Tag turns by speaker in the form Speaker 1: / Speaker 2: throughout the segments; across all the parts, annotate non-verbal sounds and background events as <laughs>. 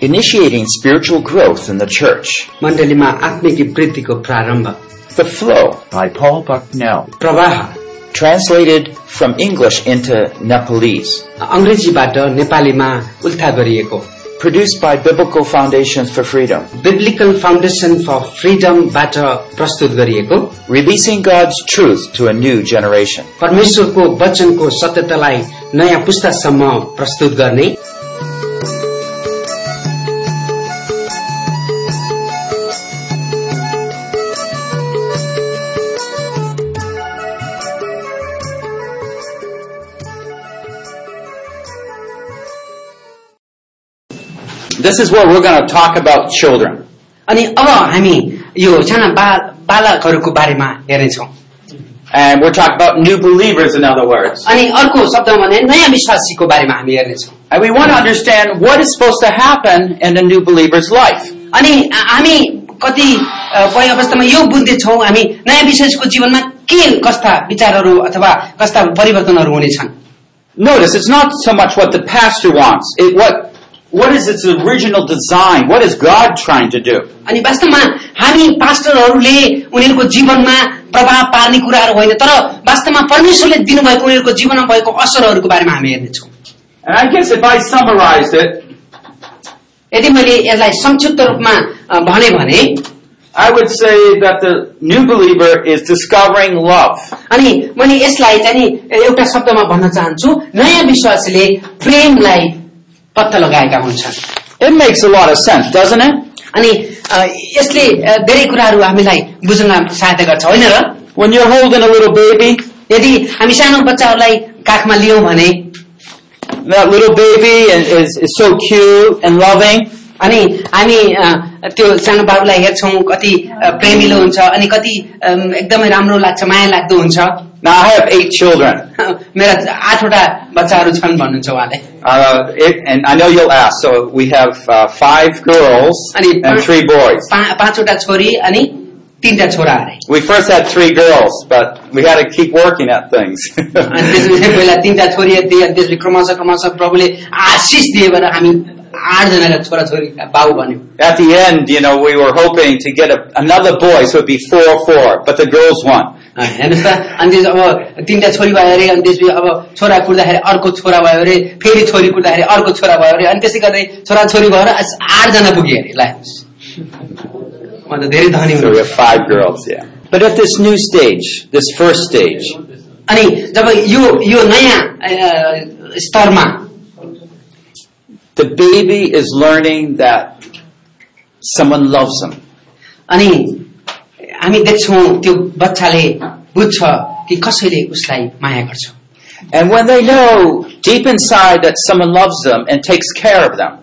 Speaker 1: initiating spiritual growth in the church.
Speaker 2: मण्डलीमा आत्मिक वृद्धिको प्रारम्भ
Speaker 1: The Flow,
Speaker 3: by Paul Bucknell.
Speaker 2: प्रवाह
Speaker 1: translated from English into Nepalese,
Speaker 2: अङ्ग्रेजीबाट नेपालीमा उल्था गरिएको
Speaker 1: produced by Biblical Foundations for Freedom,
Speaker 2: Biblical Foundation for फ्रिडमबाट प्रस्तुत गरिएको
Speaker 1: releasing God's truth to a new generation.
Speaker 2: परमेश्वरको वचनको सत्यतालाई नयाँ पुस्तासम्म प्रस्तुत गर्ने
Speaker 1: This is where we're going to talk about children.
Speaker 2: अनि अब हामी यो साना बा- बालकहरूको बारेमा हेर्नेछौँ
Speaker 1: And we're talking about new believers, in other words.
Speaker 2: अनि अर्को शब्दमा भने नयाँ विश्वासीको बारेमा हामी हेर्नेछौँ
Speaker 1: And we want to understand what is supposed to happen in a new believer's life.
Speaker 2: अनि हा- हामी कति अ, पै अवस्थामा यो बुझ्दैछौँ हामी नयाँ विश्वासीको जीवनमा के कस्ता विचारहरू अथवा कस्ता परिवर्तनहरू हुनेछन्
Speaker 1: Notice it's not so much what the pastor wants. It what what is its original design? What is God trying to do?
Speaker 2: अनि वास्तवमा हामी पास्टरहरूले उनीहरूको जीवनमा प्रभाव पार्ने कुराहरू होइन तर वास्तवमा परमेश्वरले दिनुभएको उनीहरूको जीवनमा भएको असरहरूको बारेमा हामी हेर्नेछौँ
Speaker 1: And I guess if I summarized it,
Speaker 2: यदि मैले यसलाई संक्षिप्त रूपमा अ, भने भने
Speaker 1: I would say that the new believer is discovering love.
Speaker 2: अनि मैले यसलाई चाहिँ नि एउटा शब्दमा भन्न चाहन्छु नयाँ विश्वासले प्रेमलाई पत्ता लगाएका हुन्छन्
Speaker 1: It makes a lot of sense, doesn't it?
Speaker 2: अनि अ, यसले अ, धेरै कुराहरू हामीलाई बुझ्न सहायता गर्छ होइन र
Speaker 1: When you're holding a little baby,
Speaker 2: यदि हामी सानो बच्चाहरूलाई काखमा लियौँ भने
Speaker 1: that little baby is, is, is so cute and loving.
Speaker 2: अनि हामी अ, त्यो सानो बाबुलाई हेर्छौँ कति अ, प्रेमिलो हुन्छ अनि कति अम, एकदमै राम्रो लाग्छ माया लाग्दो हुन्छ <laughs>
Speaker 1: Now I have eight children,
Speaker 2: मेरा आठवटा बच्चाहरू छन् भन्नुहुन्छ उहाँले
Speaker 1: uh, it, and I know you'll ask. So we have uh, five girls
Speaker 2: I need-
Speaker 1: and three boys.
Speaker 2: पा- पाँचवटा छोरी अनि तिनवटा छोरा अरे
Speaker 1: We first had three girls, but we had to keep working at <laughs> things.
Speaker 2: अनि त्यसपछि पहिला तिनवटा छोरी दिए अनि त्यसपछि क्रमशः क्रमशः प्रभुले आशिष दिए भनेर हामी आठजनाका छोराछोरी बाबु भन्यौँ
Speaker 1: at the end, you know, we were hoping to get a, another boy, so it'd be four, four, but the girls won.
Speaker 2: अँ, हेर्नुहोस् त अनि त्यसपछि अब तिनवटा छोरी भयो अरे अनि त्यसपछि अब छोरा कुर्दाखेरि अर्को छोरा भयो अरे फेरि छोरी कुर्दाखेरि अर्को छोरा भयो अरे अनि त्यसै गर्दै छोरा छोरी भएर आज आठजना पुगे अरे ल हेर्नुहोस् म त धेरै धनी
Speaker 1: So we
Speaker 2: हुनु
Speaker 1: have five girls, yeah. But at this new stage, this first stage,
Speaker 2: अनि जब यो यो नयाँ अँ, स्तरमा
Speaker 1: the baby is learning that someone loves him.
Speaker 2: अनि हामी देख्छौँ त्यो बच्चाले बुझ्छ कि कसैले उसलाई माया गर्छ
Speaker 1: And when they know deep inside that someone loves them and takes care of them,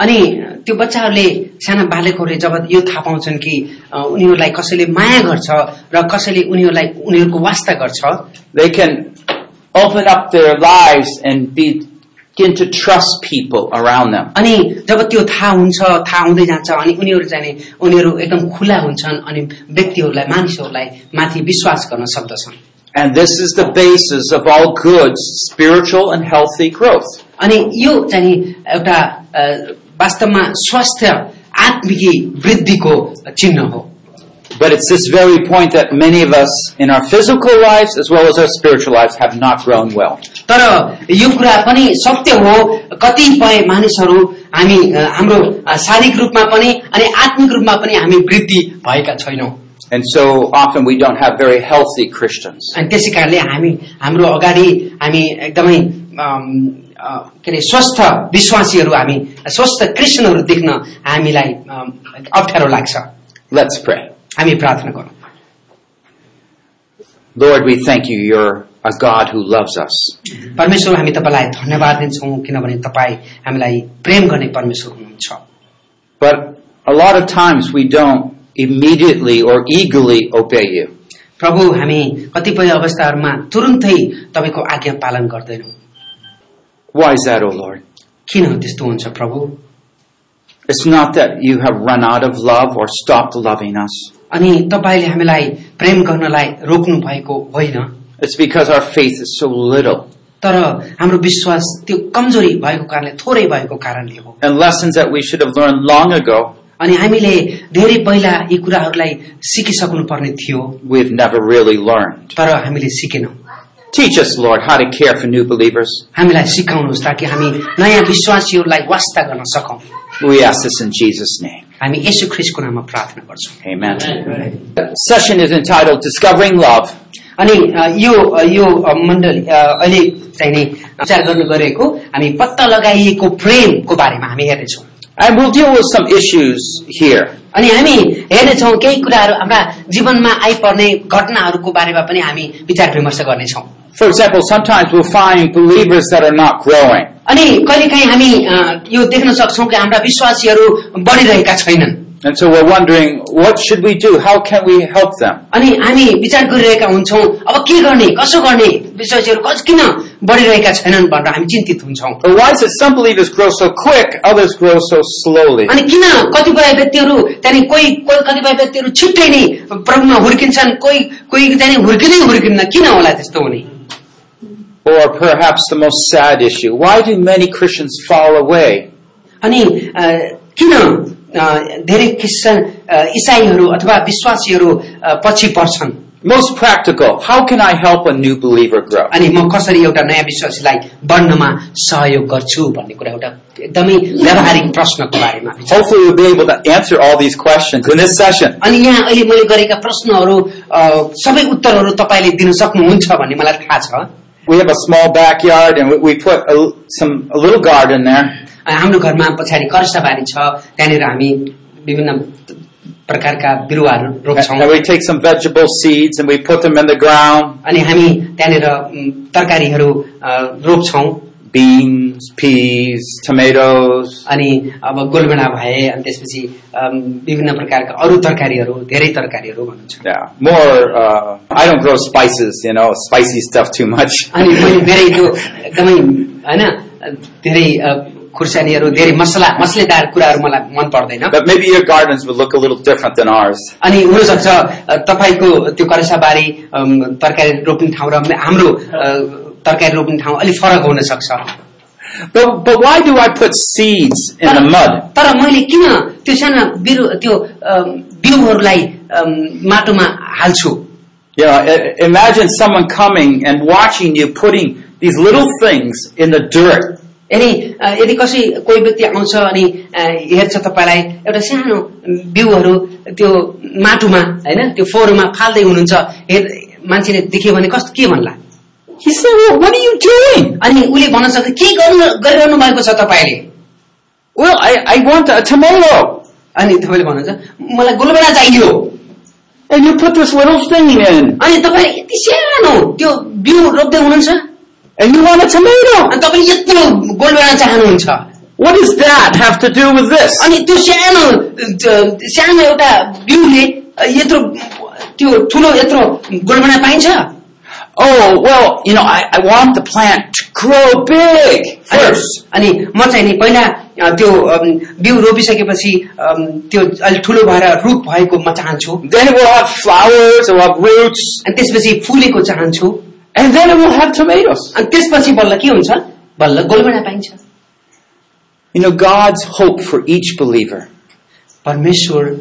Speaker 2: अनि त्यो बच्चाहरूले साना बालकहरूले जब यो थाहा पाउँछन् कि अ, उनीहरूलाई कसैले माया गर्छ र कसैले उनीहरूलाई उनीहरूको वास्ता गर्छ
Speaker 1: they can open up their lives and be, begin to trust people around them.
Speaker 2: अनि जब त्यो थाहा हुन्छ थाहा हुँदै जान्छ अनि उनीहरू जाने उनीहरू एकदम खुला हुन्छन् अनि व्यक्तिहरूलाई मानिसहरूलाई माथि विश्वास गर्न सक्दछन्
Speaker 1: And this is the basis of all good spiritual and healthy growth.
Speaker 2: अनि यो चाहिँ नि एउटा अ, वास्तवमा स्वास्थ्य आत्मिकी वृद्धिको चिन्ह हो
Speaker 1: But it's this very point that many of us in our physical lives as well as our spiritual lives have not grown well.
Speaker 2: तर यो कुरा पनि सत्य हो कतिपय मानिसहरू हामी अ, हाम्रो अ, शारीरिक रूपमा पनि अनि आत्मिक रूपमा पनि हामी वृद्धि भएका छैनौँ
Speaker 1: And so often we don't have very healthy Christians.
Speaker 2: अनि त्यसै कारणले हामी हाम्रो अगाडि हामी एकदमै अम, अ, के अरे स्वस्थ विश्वासीहरू हामी स्वस्थ क्रिस्चियनहरू देख्न हामीलाई अम, अप्ठ्यारो लाग्छ
Speaker 1: Let's pray.
Speaker 2: हामी प्रार्थना गरौँ
Speaker 1: Lord, we thank you. You're a God who loves us.
Speaker 2: परमेश्वर हामी तपाईँलाई धन्यवाद दिन्छौँ किनभने तपाईँ हामीलाई प्रेम गर्ने परमेश्वर हुनुहुन्छ
Speaker 1: But a lot of times we don't immediately or eagerly obey you.
Speaker 2: प्रभु हामी कतिपय अवस्थाहरूमा तुरुन्तै तपाईँको आज्ञा पालन गर्दैनौँ
Speaker 1: Why is that, O Lord?
Speaker 2: किन त्यस्तो हुन्छ प्रभु
Speaker 1: It's not that you have run out of love or stopped loving us.
Speaker 2: अनि तपाईँले हामीलाई प्रेम गर्नलाई रोक्नु भएको होइन
Speaker 1: It's because our faith is so little.
Speaker 2: तर हाम्रो विश्वास त्यो कमजोरी भएको कारणले थोरै भएको कारणले हो
Speaker 1: and lessons that we should have learned long ago,
Speaker 2: अनि हामीले धेरै पहिला यी कुराहरूलाई सिकिसक्नु पर्ने थियो
Speaker 1: we've never really learned.
Speaker 2: तर हामीले सिकेनौँ
Speaker 1: Teach us, Lord, how to care for new believers.
Speaker 2: हामीलाई सिकाउनुहोस् ताकि हामी नयाँ विश्वासीहरूलाई वास्ता गर्न सकौँ
Speaker 1: We ask this in Jesus' name.
Speaker 2: हामी यसो ख्रिसको नाममा प्रार्थना गर्छौँ
Speaker 1: Amen. The session is entitled Discovering Love.
Speaker 2: अनि अ, यो अ, यो अ, मण्डल अ, अहिले चाहिँ नि विचार गर्नु गएको हामी पत्ता लगाइएको प्रेमको बारेमा हामी हेर्नेछौँ
Speaker 1: And we'll deal with some issues here.
Speaker 2: अनि हामी हेर्नेछौँ केही कुराहरू हाम्रा जीवनमा आइपर्ने घटनाहरूको बारेमा पनि हामी विचार विमर्श गर्नेछौँ
Speaker 1: For example, sometimes we'll find believers that are not growing.
Speaker 2: अनि कहिलेकाहीँ हामी अ, यो देख्न सक्छौँ कि हाम्रा विश्वासीहरू बढिरहेका छैनन्
Speaker 1: And so we're wondering, what should we do? How can we help them?
Speaker 2: अनि हामी विचार गरिरहेका हुन्छौँ अब के गर्ने कसो गर्ने विश्वासीहरू कस किन बढिरहेका छैनन् भनेर हामी चिन्तित हुन्छौँ
Speaker 1: Or why is it some believers grow so quick, others grow so slowly?
Speaker 2: अनि किन कतिपय व्यक्तिहरू त्यहाँदेखि कोही कोही कतिपय व्यक्तिहरू छिट्टै नै प्रभुमा हुर्किन्छन् कोही कोही त्यहाँदेखि हुर्किँदै हुर्किन्न किन होला त्यस्तो हुने
Speaker 1: Or perhaps the most sad issue, why do many Christians fall away?
Speaker 2: अनि अ, किन अ, धेरै क्रिस्चियन अ, इसाईहरू अथवा विश्वासीहरू अ, पछि पर्छन्
Speaker 1: Most practical, how can I help a new believer grow?
Speaker 2: अनि म कसरी एउटा नयाँ विश्वासीलाई बढ्नमा सहयोग गर्छु भन्ने कुरा एउटा एकदमै व्यावहारिक प्रश्नको बारेमा
Speaker 1: Hopefully we'll be able to answer all these questions in this session.
Speaker 2: अनि यहाँ अहिले मैले गरेका प्रश्नहरू अ, सबै उत्तरहरू तपाईँले दिन सक्नुहुन्छ भन्ने मलाई थाहा छ
Speaker 1: We have a small backyard and we- we put a, some, a little garden there.
Speaker 2: अ, हाम्रो घरमा पछाडि कर्सबारी छ त्यहाँनिर हामी विभिन्न प्रकारका बिरुवाहरू रोप्छौँ
Speaker 1: And we take some vegetable seeds and we put them in the ground.
Speaker 2: अनि हामी त्यहाँनिर उम्, तरकारीहरू अ, रोप्छौँ
Speaker 1: Beans, peas, tomatoes.
Speaker 2: अनि अब गोलबेडा भए अनि त्यसपछि अम, विभिन्न प्रकारका अरू तरकारीहरू धेरै तरकारीहरू भन्नुहुन्छ
Speaker 1: Yeah, more, uh, I don't grow spices, you know, spicy stuff too much.
Speaker 2: <laughs> अनि मैले धेरै त्यो एकदमै होइन धेरै अ, खुर्सानीहरू धेरै मसला मसलेदार कुराहरू मलाई मन पर्दैन
Speaker 1: But maybe your gardens would look a little different than ours.
Speaker 2: अनि हुनसक्छ अ, तपाईँको त्यो करेसाबारी अम, तरकारी रोप्ने ठाउँ र हाम्रो अ, तरकारी रोप्ने ठाउँ अलिक फरक हुन सक्छ
Speaker 1: But, but why do I put seeds in the mud?
Speaker 2: तर मैले किन त्यो साना बिरु त्यो अम, बिउहरूलाई अम, माटोमा हाल्छु
Speaker 1: You know, i- imagine someone coming and watching you putting these little things in the dirt.
Speaker 2: यदि अ, यदि कसै कोही व्यक्ति आउँछ अनि अ, हेर्छ तपाईँलाई एउटा सानो बिउहरू त्यो माटोमा होइन त्यो फोहोरमा फाल्दै हुनुहुन्छ हेर- मान्छेले देख्यो भने कस्तो के भन्ला
Speaker 1: He said, well, what are you doing?
Speaker 2: अनि उसले भन्न सक्छ के गर्नु गरिरहनु भएको छ तपाईँले
Speaker 1: Well, I, I want a tomato.
Speaker 2: अनि तपाईँले भन्नुहुन्छ मलाई गोलबेडा चाहियो
Speaker 1: And you put this little thing in.
Speaker 2: अनि तपाईँले यति सानो त्यो बिउ रोप्दै हुनुहुन्छ
Speaker 1: And you want a tomato.
Speaker 2: अनि तपाईँले यत्रो गोलबेडा चाहनुहुन्छ
Speaker 1: What does that have to do with this?
Speaker 2: अनि त्यो सानो अ, सानो एउटा बिउले अ, यत्रो त्यो ठुलो यत्रो गोलबेडा पाइन्छ
Speaker 1: Oh, well, you know, I, I want the plant to grow big
Speaker 2: अनि-
Speaker 1: first.
Speaker 2: अनि म चाहिँ नि पहिला अ, त्यो अम, बिउ रोपिसकेपछि अम, त्यो अलिक ठुलो भएर रुख भएको म चाहन्छु
Speaker 1: Then it will have flowers, it will have roots,
Speaker 2: अनि त्यसपछि फुलेको चाहन्छु
Speaker 1: and then it will have tomatoes.
Speaker 2: अनि त्यसपछि बल्ल के हुन्छ बल्ल गोलबेडा पाइन्छ
Speaker 1: You know, God's hope for each believer.
Speaker 2: परमेश्वर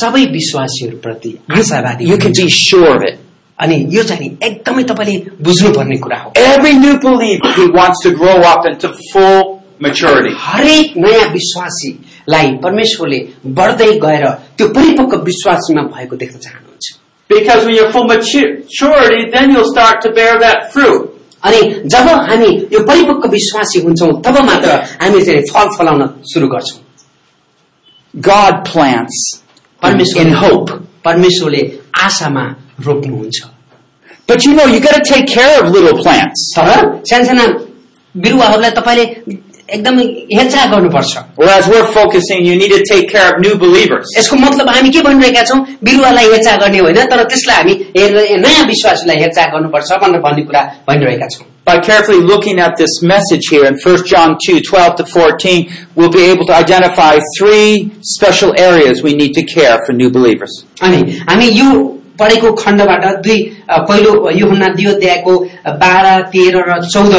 Speaker 2: सबै विश्वासीहरूप्रति आशावादी
Speaker 1: You can be sure of it.
Speaker 2: अनि यो चाहिँ नि एकदमै तपाईँले बुझ्नुपर्ने कुरा हो
Speaker 1: Every new believer who wants to grow up into full maturity.
Speaker 2: हरेक नयाँ विश्वासीलाई परमेश्वरले बढ्दै गएर त्यो परिपक्व विश्वासमा भएको देख्न चाहनुहुन्छ
Speaker 1: Because when you're full matur- maturity, then you'll start to bear that fruit.
Speaker 2: अनि जब हामी यो परिपक्व विश्वासी हुन्छौँ तब मात्र हामी चाहिँ फल फलाउन सुरु गर्छौँ
Speaker 1: God plants in hope.
Speaker 2: परमेश्वरले आशामा रोप्नुहुन्छ
Speaker 1: But you know, you gotta take care of little plants.
Speaker 2: तर सानसाना बिरुवाहरूलाई तपाईँले एकदमै हेरचाह गर्नुपर्छ
Speaker 1: Whereas we're focusing, you need to take care of new believers.
Speaker 2: यसको मतलब हामी के भनिरहेका छौँ बिरुवालाई हेरचाह गर्ने होइन तर त्यसलाई हामी हेरेर नयाँ विश्वासलाई हेरचाह गर्नुपर्छ भनेर भन्ने कुरा भनिरहेका छौँ
Speaker 1: By carefully looking at this message here in 1 John 2, 12 to 14, we'll be able to identify three special areas we need to care for new believers.
Speaker 2: अनि हामी यो पढेको खण्डबाट दुई अ, पहिलो योहन्ना दुई अध्यायको बाह्र तेह्र र चौध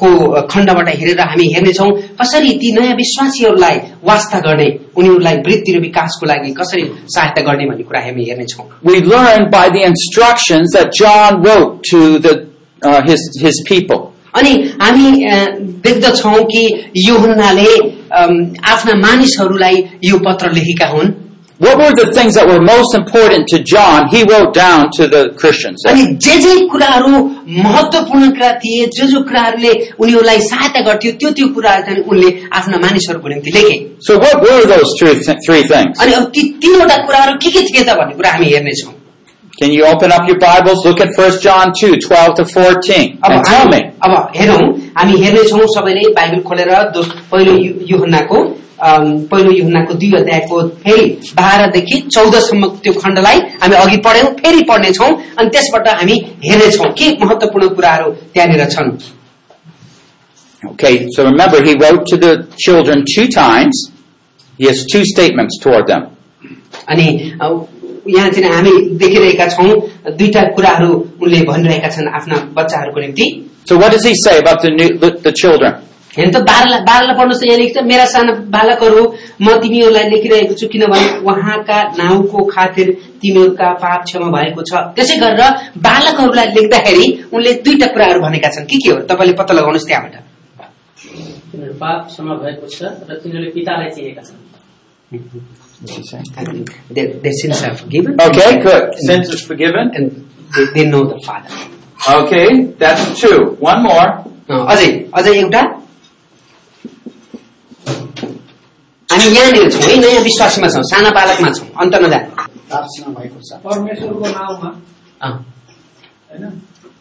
Speaker 2: को खण्डबाट हेरेर हामी हेर्नेछौँ कसरी ती नयाँ विश्वासीहरूलाई वास्ता गर्ने उनीहरूलाई वृद्धि र विकासको लागि कसरी सहायता गर्ने भन्ने कुरा हामी हेर्नेछौँ
Speaker 1: We learn by the instructions that John wrote to the, uh, his, his people.
Speaker 2: अनि हामी अ, देख्दछौँ कि योहन्नाले अम, आफ्ना मानिसहरूलाई यो पत्र लेखेका हुन्
Speaker 1: What were the things that were most important to John? He wrote down to the Christians.
Speaker 2: अनि जे जे कुराहरू महत्वपूर्ण कुरा थिए जे जो कुराहरूले उनीहरूलाई सहायता गर्थ्यो त्यो त्यो कुराहरू चाहिँ उनले आफ्ना मानिसहरूको निम्ति लेखे
Speaker 1: So what were those three, th- three things?
Speaker 2: अनि अब ती तीनवटा कुराहरू के के थिए त भन्ने कुरा हामी हेर्नेछौँ
Speaker 1: Can you open up your Bibles? Look at 1 John 2, 12 to 14.
Speaker 2: अब
Speaker 1: And tell
Speaker 2: हामी-
Speaker 1: me.
Speaker 2: अब हेरौँ हामी हेर्नेछौँ सबैले बाइबल खोलेर दोस- पहिलो यु- युहन्नाको अम, पहिलो युहन्नाको दुई अध्यायको फेरि बाह्रदेखि चौधसम्म त्यो खण्डलाई हामी अघि पढ्यौँ फेरि पढ्नेछौँ अनि त्यसबाट हामी हेर्नेछौँ के महत्वपूर्ण कुराहरू त्यहाँनिर छन्
Speaker 1: Okay, so remember, he wrote to the children two times. He has two statements toward them.
Speaker 2: अनि अब यहाँ चाहिँ हामी देखिरहेका छौँ दुईटा कुराहरू उनले भनिरहेका छन् आफ्ना बच्चाहरूको निम्ति
Speaker 1: So what does he say about the, new, the, the children?
Speaker 2: हेर्नु त बाललाई बाललाई पढ्नुहोस् न यहाँ लेख्छ मेरा साना बालकहरू म तिमीहरूलाई लेखिरहेको छु किनभने उहाँका नाउँको खातिर तिमीहरूका पाप क्षमा भएको छ त्यसै गरेर बालकहरूलाई लेख्दाखेरि उनले दुईटा कुराहरू भनेका छन् के के हो तपाईँले पत्ता लगाउनुहोस् त्यहाँबाट
Speaker 3: तिनीहरू पाप क्षमा भएको छ र तिनीहरूले पितालाई चिनेका छन्
Speaker 2: Their their sins have given
Speaker 1: Okay, good. Sins is forgiven.
Speaker 2: and they they know the Father.
Speaker 1: Okay, that's two. One more.
Speaker 2: अँ, अझै अझै एउटा हामी यहाँनिर छौँ है नयाँ विश्वासमा छौँ साना बालकमा छौँ अन्त नजाने
Speaker 4: प्रार्थना भएको छ
Speaker 5: परमेश्वरको नाउँमा
Speaker 2: अँ,
Speaker 5: होइन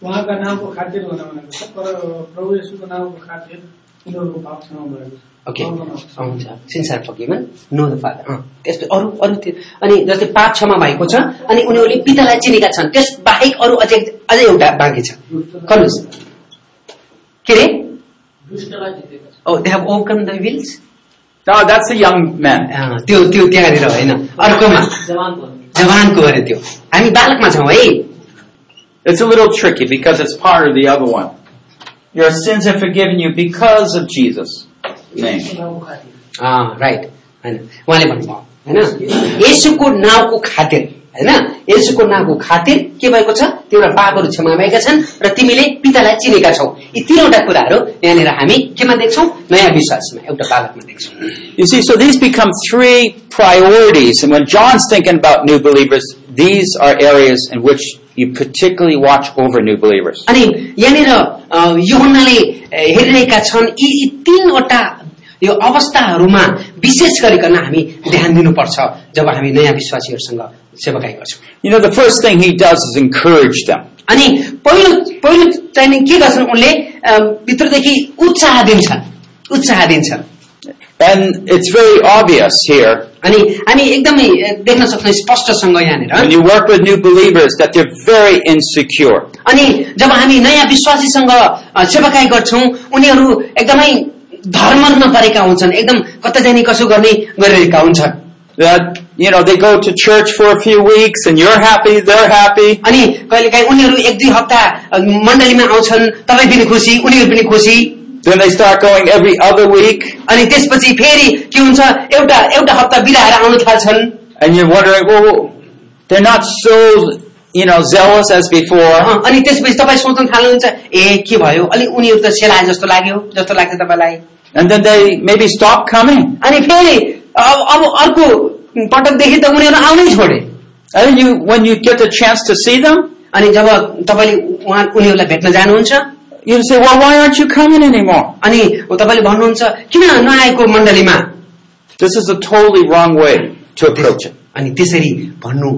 Speaker 5: उहाँका नामको खातिर हुन भनेको छ तर प्रभु येशूको नामको खातिर उनीहरूको पाप क्षमा भएको छ
Speaker 2: ओके
Speaker 5: उहाँको नाम।
Speaker 2: अँ, हुन्छ सिन्सार फकीमा नो द फादर अँ, त्यस्तै अरू अरू त्यो अनि जस्तै पाप क्षमा भएको छ अनि उनीहरूले पितालाई चिनेका छन् त्यस बाहेक अरू अझै अझै एउटा बाँकी छ गर्नुहोस् के अरे
Speaker 3: दुष्टलाई जितेका छन्
Speaker 2: oh they have overcome the wills
Speaker 1: No, that's the young men.
Speaker 2: त्यो त्यो त्यहाँनिर होइन अर्कोमा
Speaker 3: जवान भन्ने
Speaker 2: जवानको अरे त्यो हामी बालकमा छौँ है
Speaker 1: It's a little tricky because it's part of the other one. Your sins are forgiven you because of Jesus' name.
Speaker 3: नाउँको खातिर
Speaker 2: राइट होइन उहाँले भन्नुभयो होइन यसुको नाउँको खातिर होइन यसुको नाउँको खातिर के भएको छ तिम्रो पापहरू क्षमा भएका छन् र तिमीले पितालाई चिनेका छौ यी तीनवटा कुराहरू यहाँनिर हामी केमा देख्छौ नयाँ विश्वासमा एउटा बालकमा देख्छौँ
Speaker 1: You see, so these become three priorities. And when John's thinking about new believers, these are areas in which you particularly watch over new believers.
Speaker 2: अनि यहाँनिर अ, योहन्नाले अ, हेरिरहेका छन् यी यी तीनवटा यो अवस्थाहरूमा विशेष गरिकन हामी ध्यान दिनुपर्छ जब हामी नयाँ विश्वासीहरूसँग सेवकाई गर्छौँ
Speaker 1: You know, the first thing he does is encourage them.
Speaker 2: अनि पहिलो पहिलो चाहिँ नि के गर्छन् उनले अम, भित्रदेखि उत्साह दिन्छन् उत्साह दिन्छन्
Speaker 1: And it's very obvious here
Speaker 2: अनि हामी एकदमै ए, देख्न सक्छौँ स्पष्टसँग यहाँनिर
Speaker 1: when you work with new believers that they're very insecure.
Speaker 2: अनि जब हामी नयाँ विश्वासीसँग अ, सेवाकाई गर्छौँ उनीहरू एकदमै धर्ममा परेका हुन्छन् एकदम कता जाने कसो गर्ने गरिरहेका हुन्छन्
Speaker 1: That, you know, they go to church for a few weeks and you're happy, they're happy.
Speaker 2: अनि कहिलेकाहीँ उनीहरू एक दुई हप्ता अ, मण्डलीमा आउँछन् तपाईँ पनि खुसी उनीहरू पनि खुसी
Speaker 1: Then they start going every other week
Speaker 2: अनि त्यसपछि फेरि के हुन्छ एउटा एउटा हप्ता बिराएर आउन थाल्छन्
Speaker 1: and you're wondering, well, they're not so, you know, zealous as before.
Speaker 2: अँ, अनि त्यसपछि तपाईँ सोच्न थाल्नुहुन्छ ए के भयो अलि उनीहरू त सेलाए जस्तो लाग्यो जस्तो लाग्छ तपाईँलाई
Speaker 1: And then they maybe stop coming.
Speaker 2: अनि फेरि अब अब अर्को पटकदेखि त उनीहरू आउनै छोडे
Speaker 1: And then you, when you get the chance to see them,
Speaker 2: अनि जब तपाईँले उहाँ उनीहरूलाई भेट्न जानुहुन्छ
Speaker 1: you say, well, why aren't you coming anymore?
Speaker 2: अनि तपाईँले भन्नुहुन्छ किन नआएको मण्डलीमा
Speaker 1: This is a totally wrong way to approach it.
Speaker 2: अनि त्यसरी भन्नु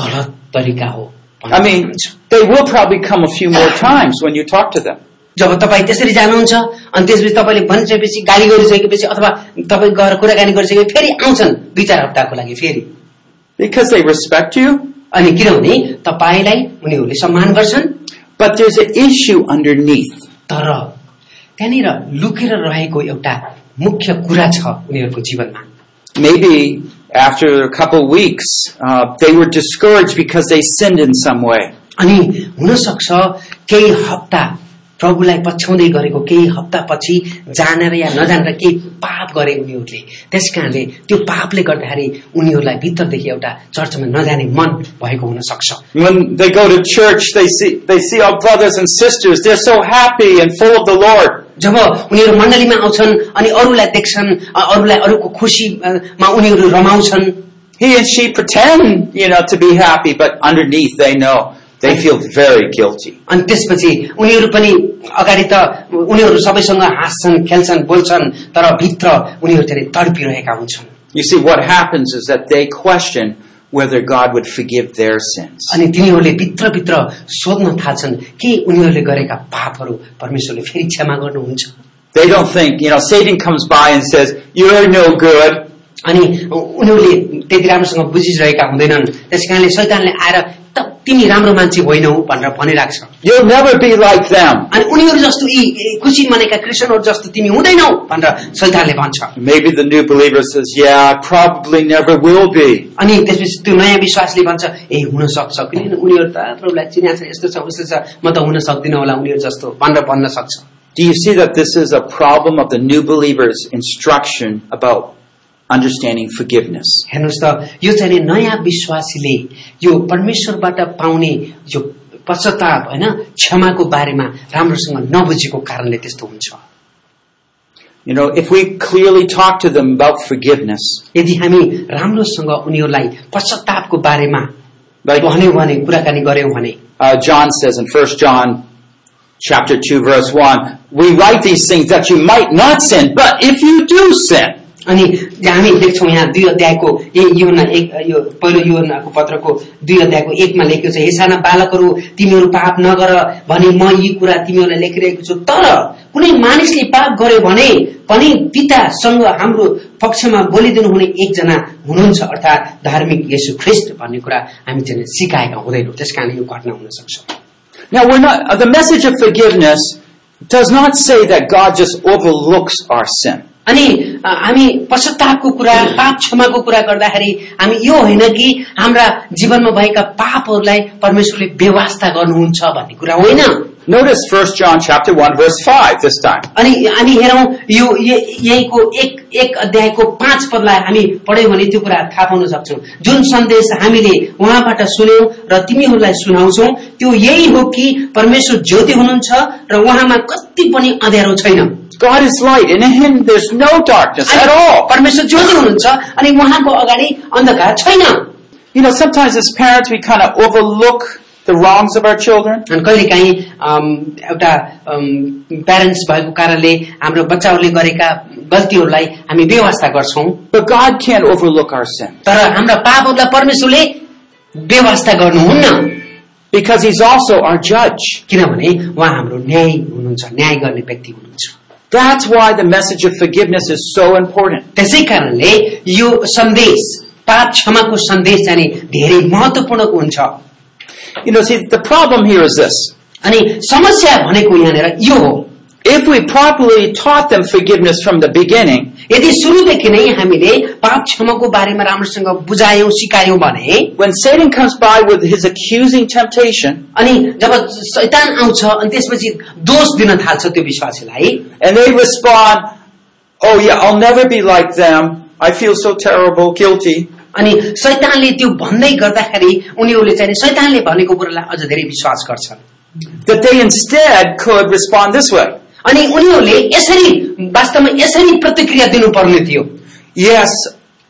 Speaker 2: गलत तरिका हो
Speaker 1: I mean, they will probably come a few more times when you talk to them.
Speaker 2: जब तपाईँ त्यसरी जानुहुन्छ अनि त्यसपछि तपाईँले भनिसकेपछि गाली गरिसकेपछि अथवा तपाईँ गएर कुराकानी गरिसकेपछि फेरि आउँछन् दुई चार हप्ताको लागि फेरि
Speaker 1: Because they respect you,
Speaker 2: अनि किनभने तपाईँलाई उनीहरूले सम्मान गर्छन्
Speaker 1: but there's an issue underneath.
Speaker 2: तर त्यहाँनिर लुकेर रहेको एउटा मुख्य कुरा छ उनीहरूको जीवनमा
Speaker 1: Maybe after a couple weeks, uh, they were discouraged because they sinned in some way.
Speaker 2: अनि हुनसक्छ केही हप्ता प्रभुलाई पछ्याउँदै गरेको केही हप्तापछि जानेर या नजानेर केही पाप गरे उनीहरूले त्यस कारणले त्यो पापले गर्दाखेरि उनीहरूलाई भित्रदेखि एउटा चर्चमा नजाने मन भएको हुन सक्छ
Speaker 1: When they go to church, they see, they see our brothers and sisters. They're so happy and full of the Lord.
Speaker 2: जब उनीहरू मण्डलीमा आउँछन् अनि अरूलाई देख्छन् अ- अरूलाई अरूको खुसीमा उनीहरू रमाउँछन्
Speaker 1: He and she pretend, you know, to be happy, but underneath they know they feel very guilty.
Speaker 2: अनि त्यसपछि उनीहरू पनि अगाडि त उनीहरू सबैसँग हाँस्छन् खेल्छन् बोल्छन् तर भित्र उनीहरू धेरै तडपिरहेका हुन्छन्
Speaker 1: You see, what happens is that they question whether God would forgive their sins.
Speaker 2: अनि तिनीहरूले भित्रभित्र सोध्न थाल्छन् के उनीहरूले गरेका पापहरू परमेश्वरले फेरि क्षमा गर्नुहुन्छ
Speaker 1: They don't think, you know, Satan comes by and says, You're no good.
Speaker 2: अनि उनीहरूले त्यति राम्रोसँग बुझिरहेका हुँदैनन् त्यस कारणले शैतानले आएर "त- तिमी राम्रो मान्छे होइनौ भनेर भनिराख्छ
Speaker 1: You'll never be like them.
Speaker 2: अनि उनीहरू जस्तो यी यी खुसी मनेका क्रिस्चियनहरू जस्तो तिमी हुँदैनौ भनेर शैतानले भन्छ
Speaker 1: Maybe the new believer says, Yeah, I probably never will be.
Speaker 2: अनि त्यसपछि त्यो नयाँ विश्वासले भन्छ ए हुन सक्छ किनभने उनीहरू त प्रभुलाई चिनाएको छ यस्तो छ उस्तो छ म त हुन सक्दिनँ होला उनीहरू जस्तो भनेर भन्न सक्छ
Speaker 1: Do you see that this is a problem of the new believer's instruction about understanding forgiveness?
Speaker 2: हेर्नुहोस् त यो चाहिँ नि नयाँ विश्वासीले यो परमेश्वरबाट पाउने यो पश्चाताप होइन क्षमाको बारेमा राम्रोसँग नबुझेको कारणले त्यस्तो हुन्छ
Speaker 1: You know, if we clearly talk to them about forgiveness,
Speaker 2: यदि हामी राम्रोसँग उनीहरूलाई पश्चातापको बारेमा
Speaker 1: like
Speaker 2: भन्यौँ भने कुराकानी गर्यौँ भने
Speaker 1: uh, John says in 1 John chapter 2 verse 1, we write these things that you might not sin, but if you do sin,
Speaker 2: अनि त्यहाँ हामी लेख्छौँ यहाँ दुई अध्यायको ए योना एक यो पहिलो योनाको पत्रको दुई अध्यायको एकमा लेखेको छ हे साना बालकहरू तिमीहरू पाप नगर भने म यी कुरा तिमीहरूलाई लेखिरहेको छु तर कुनै मानिसले पाप गर्यो भने पनि पितासँग हाम्रो पक्षमा बोलिदिनु हुने एकजना हुनुहुन्छ अर्थात् धार्मिक येशू ख्रिस्ट भन्ने कुरा हामी चाहिँ सिकाएका हुँदैनौँ त्यस कारणले यो घटना हुन सक्छ
Speaker 1: Now we're not, uh, the message of forgiveness does not say that God just overlooks our sin.
Speaker 2: अनि अ, हामी पश्चातापको कुरा पाप क्षमाको कुरा गर्दाखेरि हामी यो होइन कि हाम्रा जीवनमा भएका पापहरूलाई परमेश्वरले व्यवस्था गर्नुहुन्छ भन्ने कुरा होइन
Speaker 1: Notice 1 John chapter 1 verse 5 this time.
Speaker 2: अनि हामी हेरौँ यो ये- यहीको एक एक अध्यायको पाँच पदलाई हामी पढ्यौँ भने त्यो कुरा थाहा पाउन सक्छौँ जुन सन्देश हामीले उहाँबाट सुन्यौं र तिमीहरूलाई सुनाउँछौ त्यो यही हो कि परमेश्वर ज्योति हुनुहुन्छ र उहाँमा कति पनि अँध्यारो छैन
Speaker 1: God is light and in him there's no darkness at
Speaker 2: अनि
Speaker 1: all.
Speaker 2: परमेश्वर ज्योति हुनुहुन्छ अनि उहाँको अगाडि अन्धकार छैन
Speaker 1: You know, sometimes as parents we kind of overlook the wrongs of our children.
Speaker 2: अनि कहिले काहीँ एउटा प्यारेन्ट्स भएको कारणले हाम्रो बच्चाहरूले गरेका गल्तीहरूलाई हामी व्यवस्था गर्छौँ
Speaker 1: But God can't overlook our sin
Speaker 2: तर हाम्रा पापहरूलाई परमेश्वरले व्यवस्था गर्नुहुन्न
Speaker 1: because he's also our judge.
Speaker 2: किनभने उहाँ हाम्रो न्याय हुनुहुन्छ न्याय गर्ने व्यक्ति हुनुहुन्छ
Speaker 1: That's why the message of forgiveness is so important.
Speaker 2: त्यसै कारणले यो सन्देश पाप क्षमाको सन्देश जाने धेरै महत्वपूर्ण हुन्छ
Speaker 1: You know, see, the problem here is this.
Speaker 2: अनि समस्या भनेको यहाँनिर यो हो
Speaker 1: If we properly taught them forgiveness from the beginning,
Speaker 2: यदि सुरुदेखि नै हामीले पाप क्षमाको बारेमा राम्रोसँग बुझायौं सिकायौं भने
Speaker 1: when Satan comes by with his accusing temptation
Speaker 2: अनि जब शैतान आउँछ अनि त्यसपछि दोष दिन थाल्छ त्यो विश्वासीलाई
Speaker 1: and they respond, oh yeah, I'll never be like them. I feel so terrible, guilty.
Speaker 2: अनि शैतानले त्यो भन्दै गर्दाखेरि उनीहरूले चाहिँ नि शैतानले भनेको कुरालाई अझ धेरै विश्वास गर्छन्
Speaker 1: That they instead could respond this way.
Speaker 2: अनि उनीहरूले यसरी वास्तवमा यसरी प्रतिक्रिया दिनुपर्ने थियो
Speaker 1: Yes,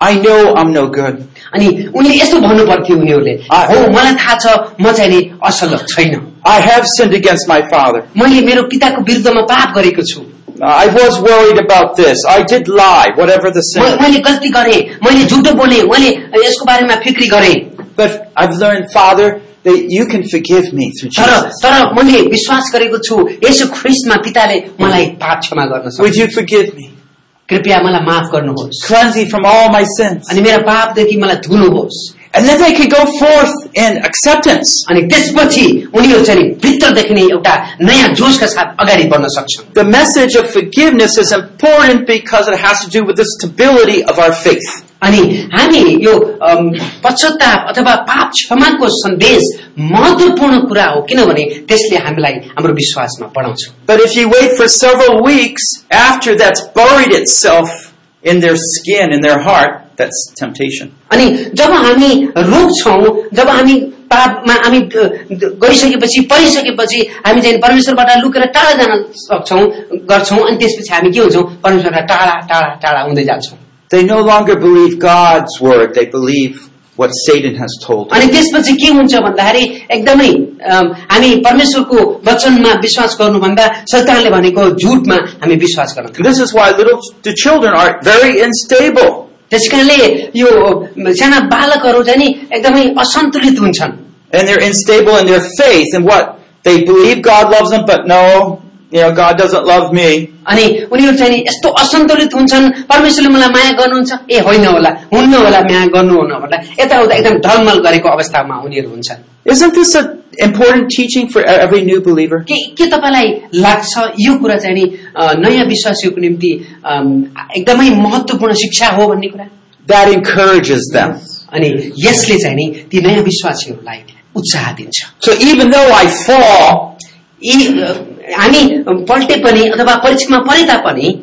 Speaker 1: I know I'm no good.
Speaker 2: अनि उनले यस्तो भन्नु पर्थ्यो उनीहरूले
Speaker 1: आ-
Speaker 2: हो मलाई थाहा छ म चाहिँ नि असल छैन
Speaker 1: I have sinned against my father.
Speaker 2: मैले मेरो पिताको विरुद्धमा पाप गरेको छु
Speaker 1: I was worried about this. I did lie, whatever the sin.
Speaker 2: म- मैले गल्ती गरेँ मैले झुटो बोलेँ मैले यसको बारेमा फिक्री गरेँ
Speaker 1: But I've learned, Father, that you can forgive me through
Speaker 2: तर
Speaker 1: Jesus.
Speaker 2: तर मैले विश्वास गरेको छु यसो ख्रिस्टमा पिताले मलाई पाप क्षमा गर्न सक्छ
Speaker 1: Would you forgive me?
Speaker 2: कृपया मलाई माफ गर्नुहोस्
Speaker 1: Cleanse me from all my sins.
Speaker 2: अनि मेरा पापदेखि मलाई धुनुहोस्
Speaker 1: And then they can go forth in acceptance.
Speaker 2: अनि त्यसपछि उनीहरू चाहिँ नि भित्रदेखि नै एउटा नयाँ जोशका साथ अगाडि बढ्न सक्छन्
Speaker 1: The message of forgiveness is important because it has to do with the stability of our faith.
Speaker 2: अनि हामी यो अम, पश्चाताप अथवा पाप क्षमाको सन्देश महत्वपूर्ण कुरा हो किनभने त्यसले हामीलाई हाम्रो विश्वासमा बढाउँछ
Speaker 1: But if you wait for several weeks after that's buried itself in their skin, in their heart, that's temptation.
Speaker 2: अनि जब हामी रोक्छौँ जब हामी पापमा हामी अ, गरिसकेपछि परिसकेपछि हामी चाहिँ परमेश्वरबाट लुकेर टाढा जान सक्छौँ गर्छौँ अनि त्यसपछि हामी के हुन्छौँ परमेश्वरबाट टाढा टाढा टाढा हुँदै जान्छौँ
Speaker 1: They no longer believe God's word, they believe what Satan has told them.
Speaker 2: अनि त्यसपछि के हुन्छ भन्दाखेरि एकदमै अम, हामी परमेश्वरको वचनमा विश्वास गर्नुभन्दा शैतानले भनेको झुटमा हामी विश्वास गर्न
Speaker 1: This is why little the children are very unstable.
Speaker 2: त्यस कारणले यो साना बालकहरू चाहिँ नि एकदमै असन्तुलित हुन्छन्
Speaker 1: And they're unstable in their faith and what? They believe God loves them, but no, you know, God doesn't love me.
Speaker 2: अनि उनीहरू चाहिँ नि यस्तो असन्तुलित हुन्छन् परमेश्वरले मलाई माया गर्नुहुन्छ ए होइन होला हुन्न होला माया गर्नुहुन्न होला यताउता एकदम ढलमल गरेको अवस्थामा उनीहरू हुन्छन्
Speaker 1: Isn't this an important teaching for e-, every new believer?
Speaker 2: के के तपाईँलाई लाग्छ यो कुरा चाहिँ नि अ, नयाँ विश्वासीको निम्ति अम, एकदमै महत्वपूर्ण शिक्षा हो भन्ने कुरा
Speaker 1: That encourages them.
Speaker 2: अनि यसले चाहिँ नि ती नयाँ विश्वासीहरूलाई उत्साह दिन्छ
Speaker 1: So even though I fall,
Speaker 2: यी अ, हामी पल्टे पनि अथवा परीक्षामा परे तापनि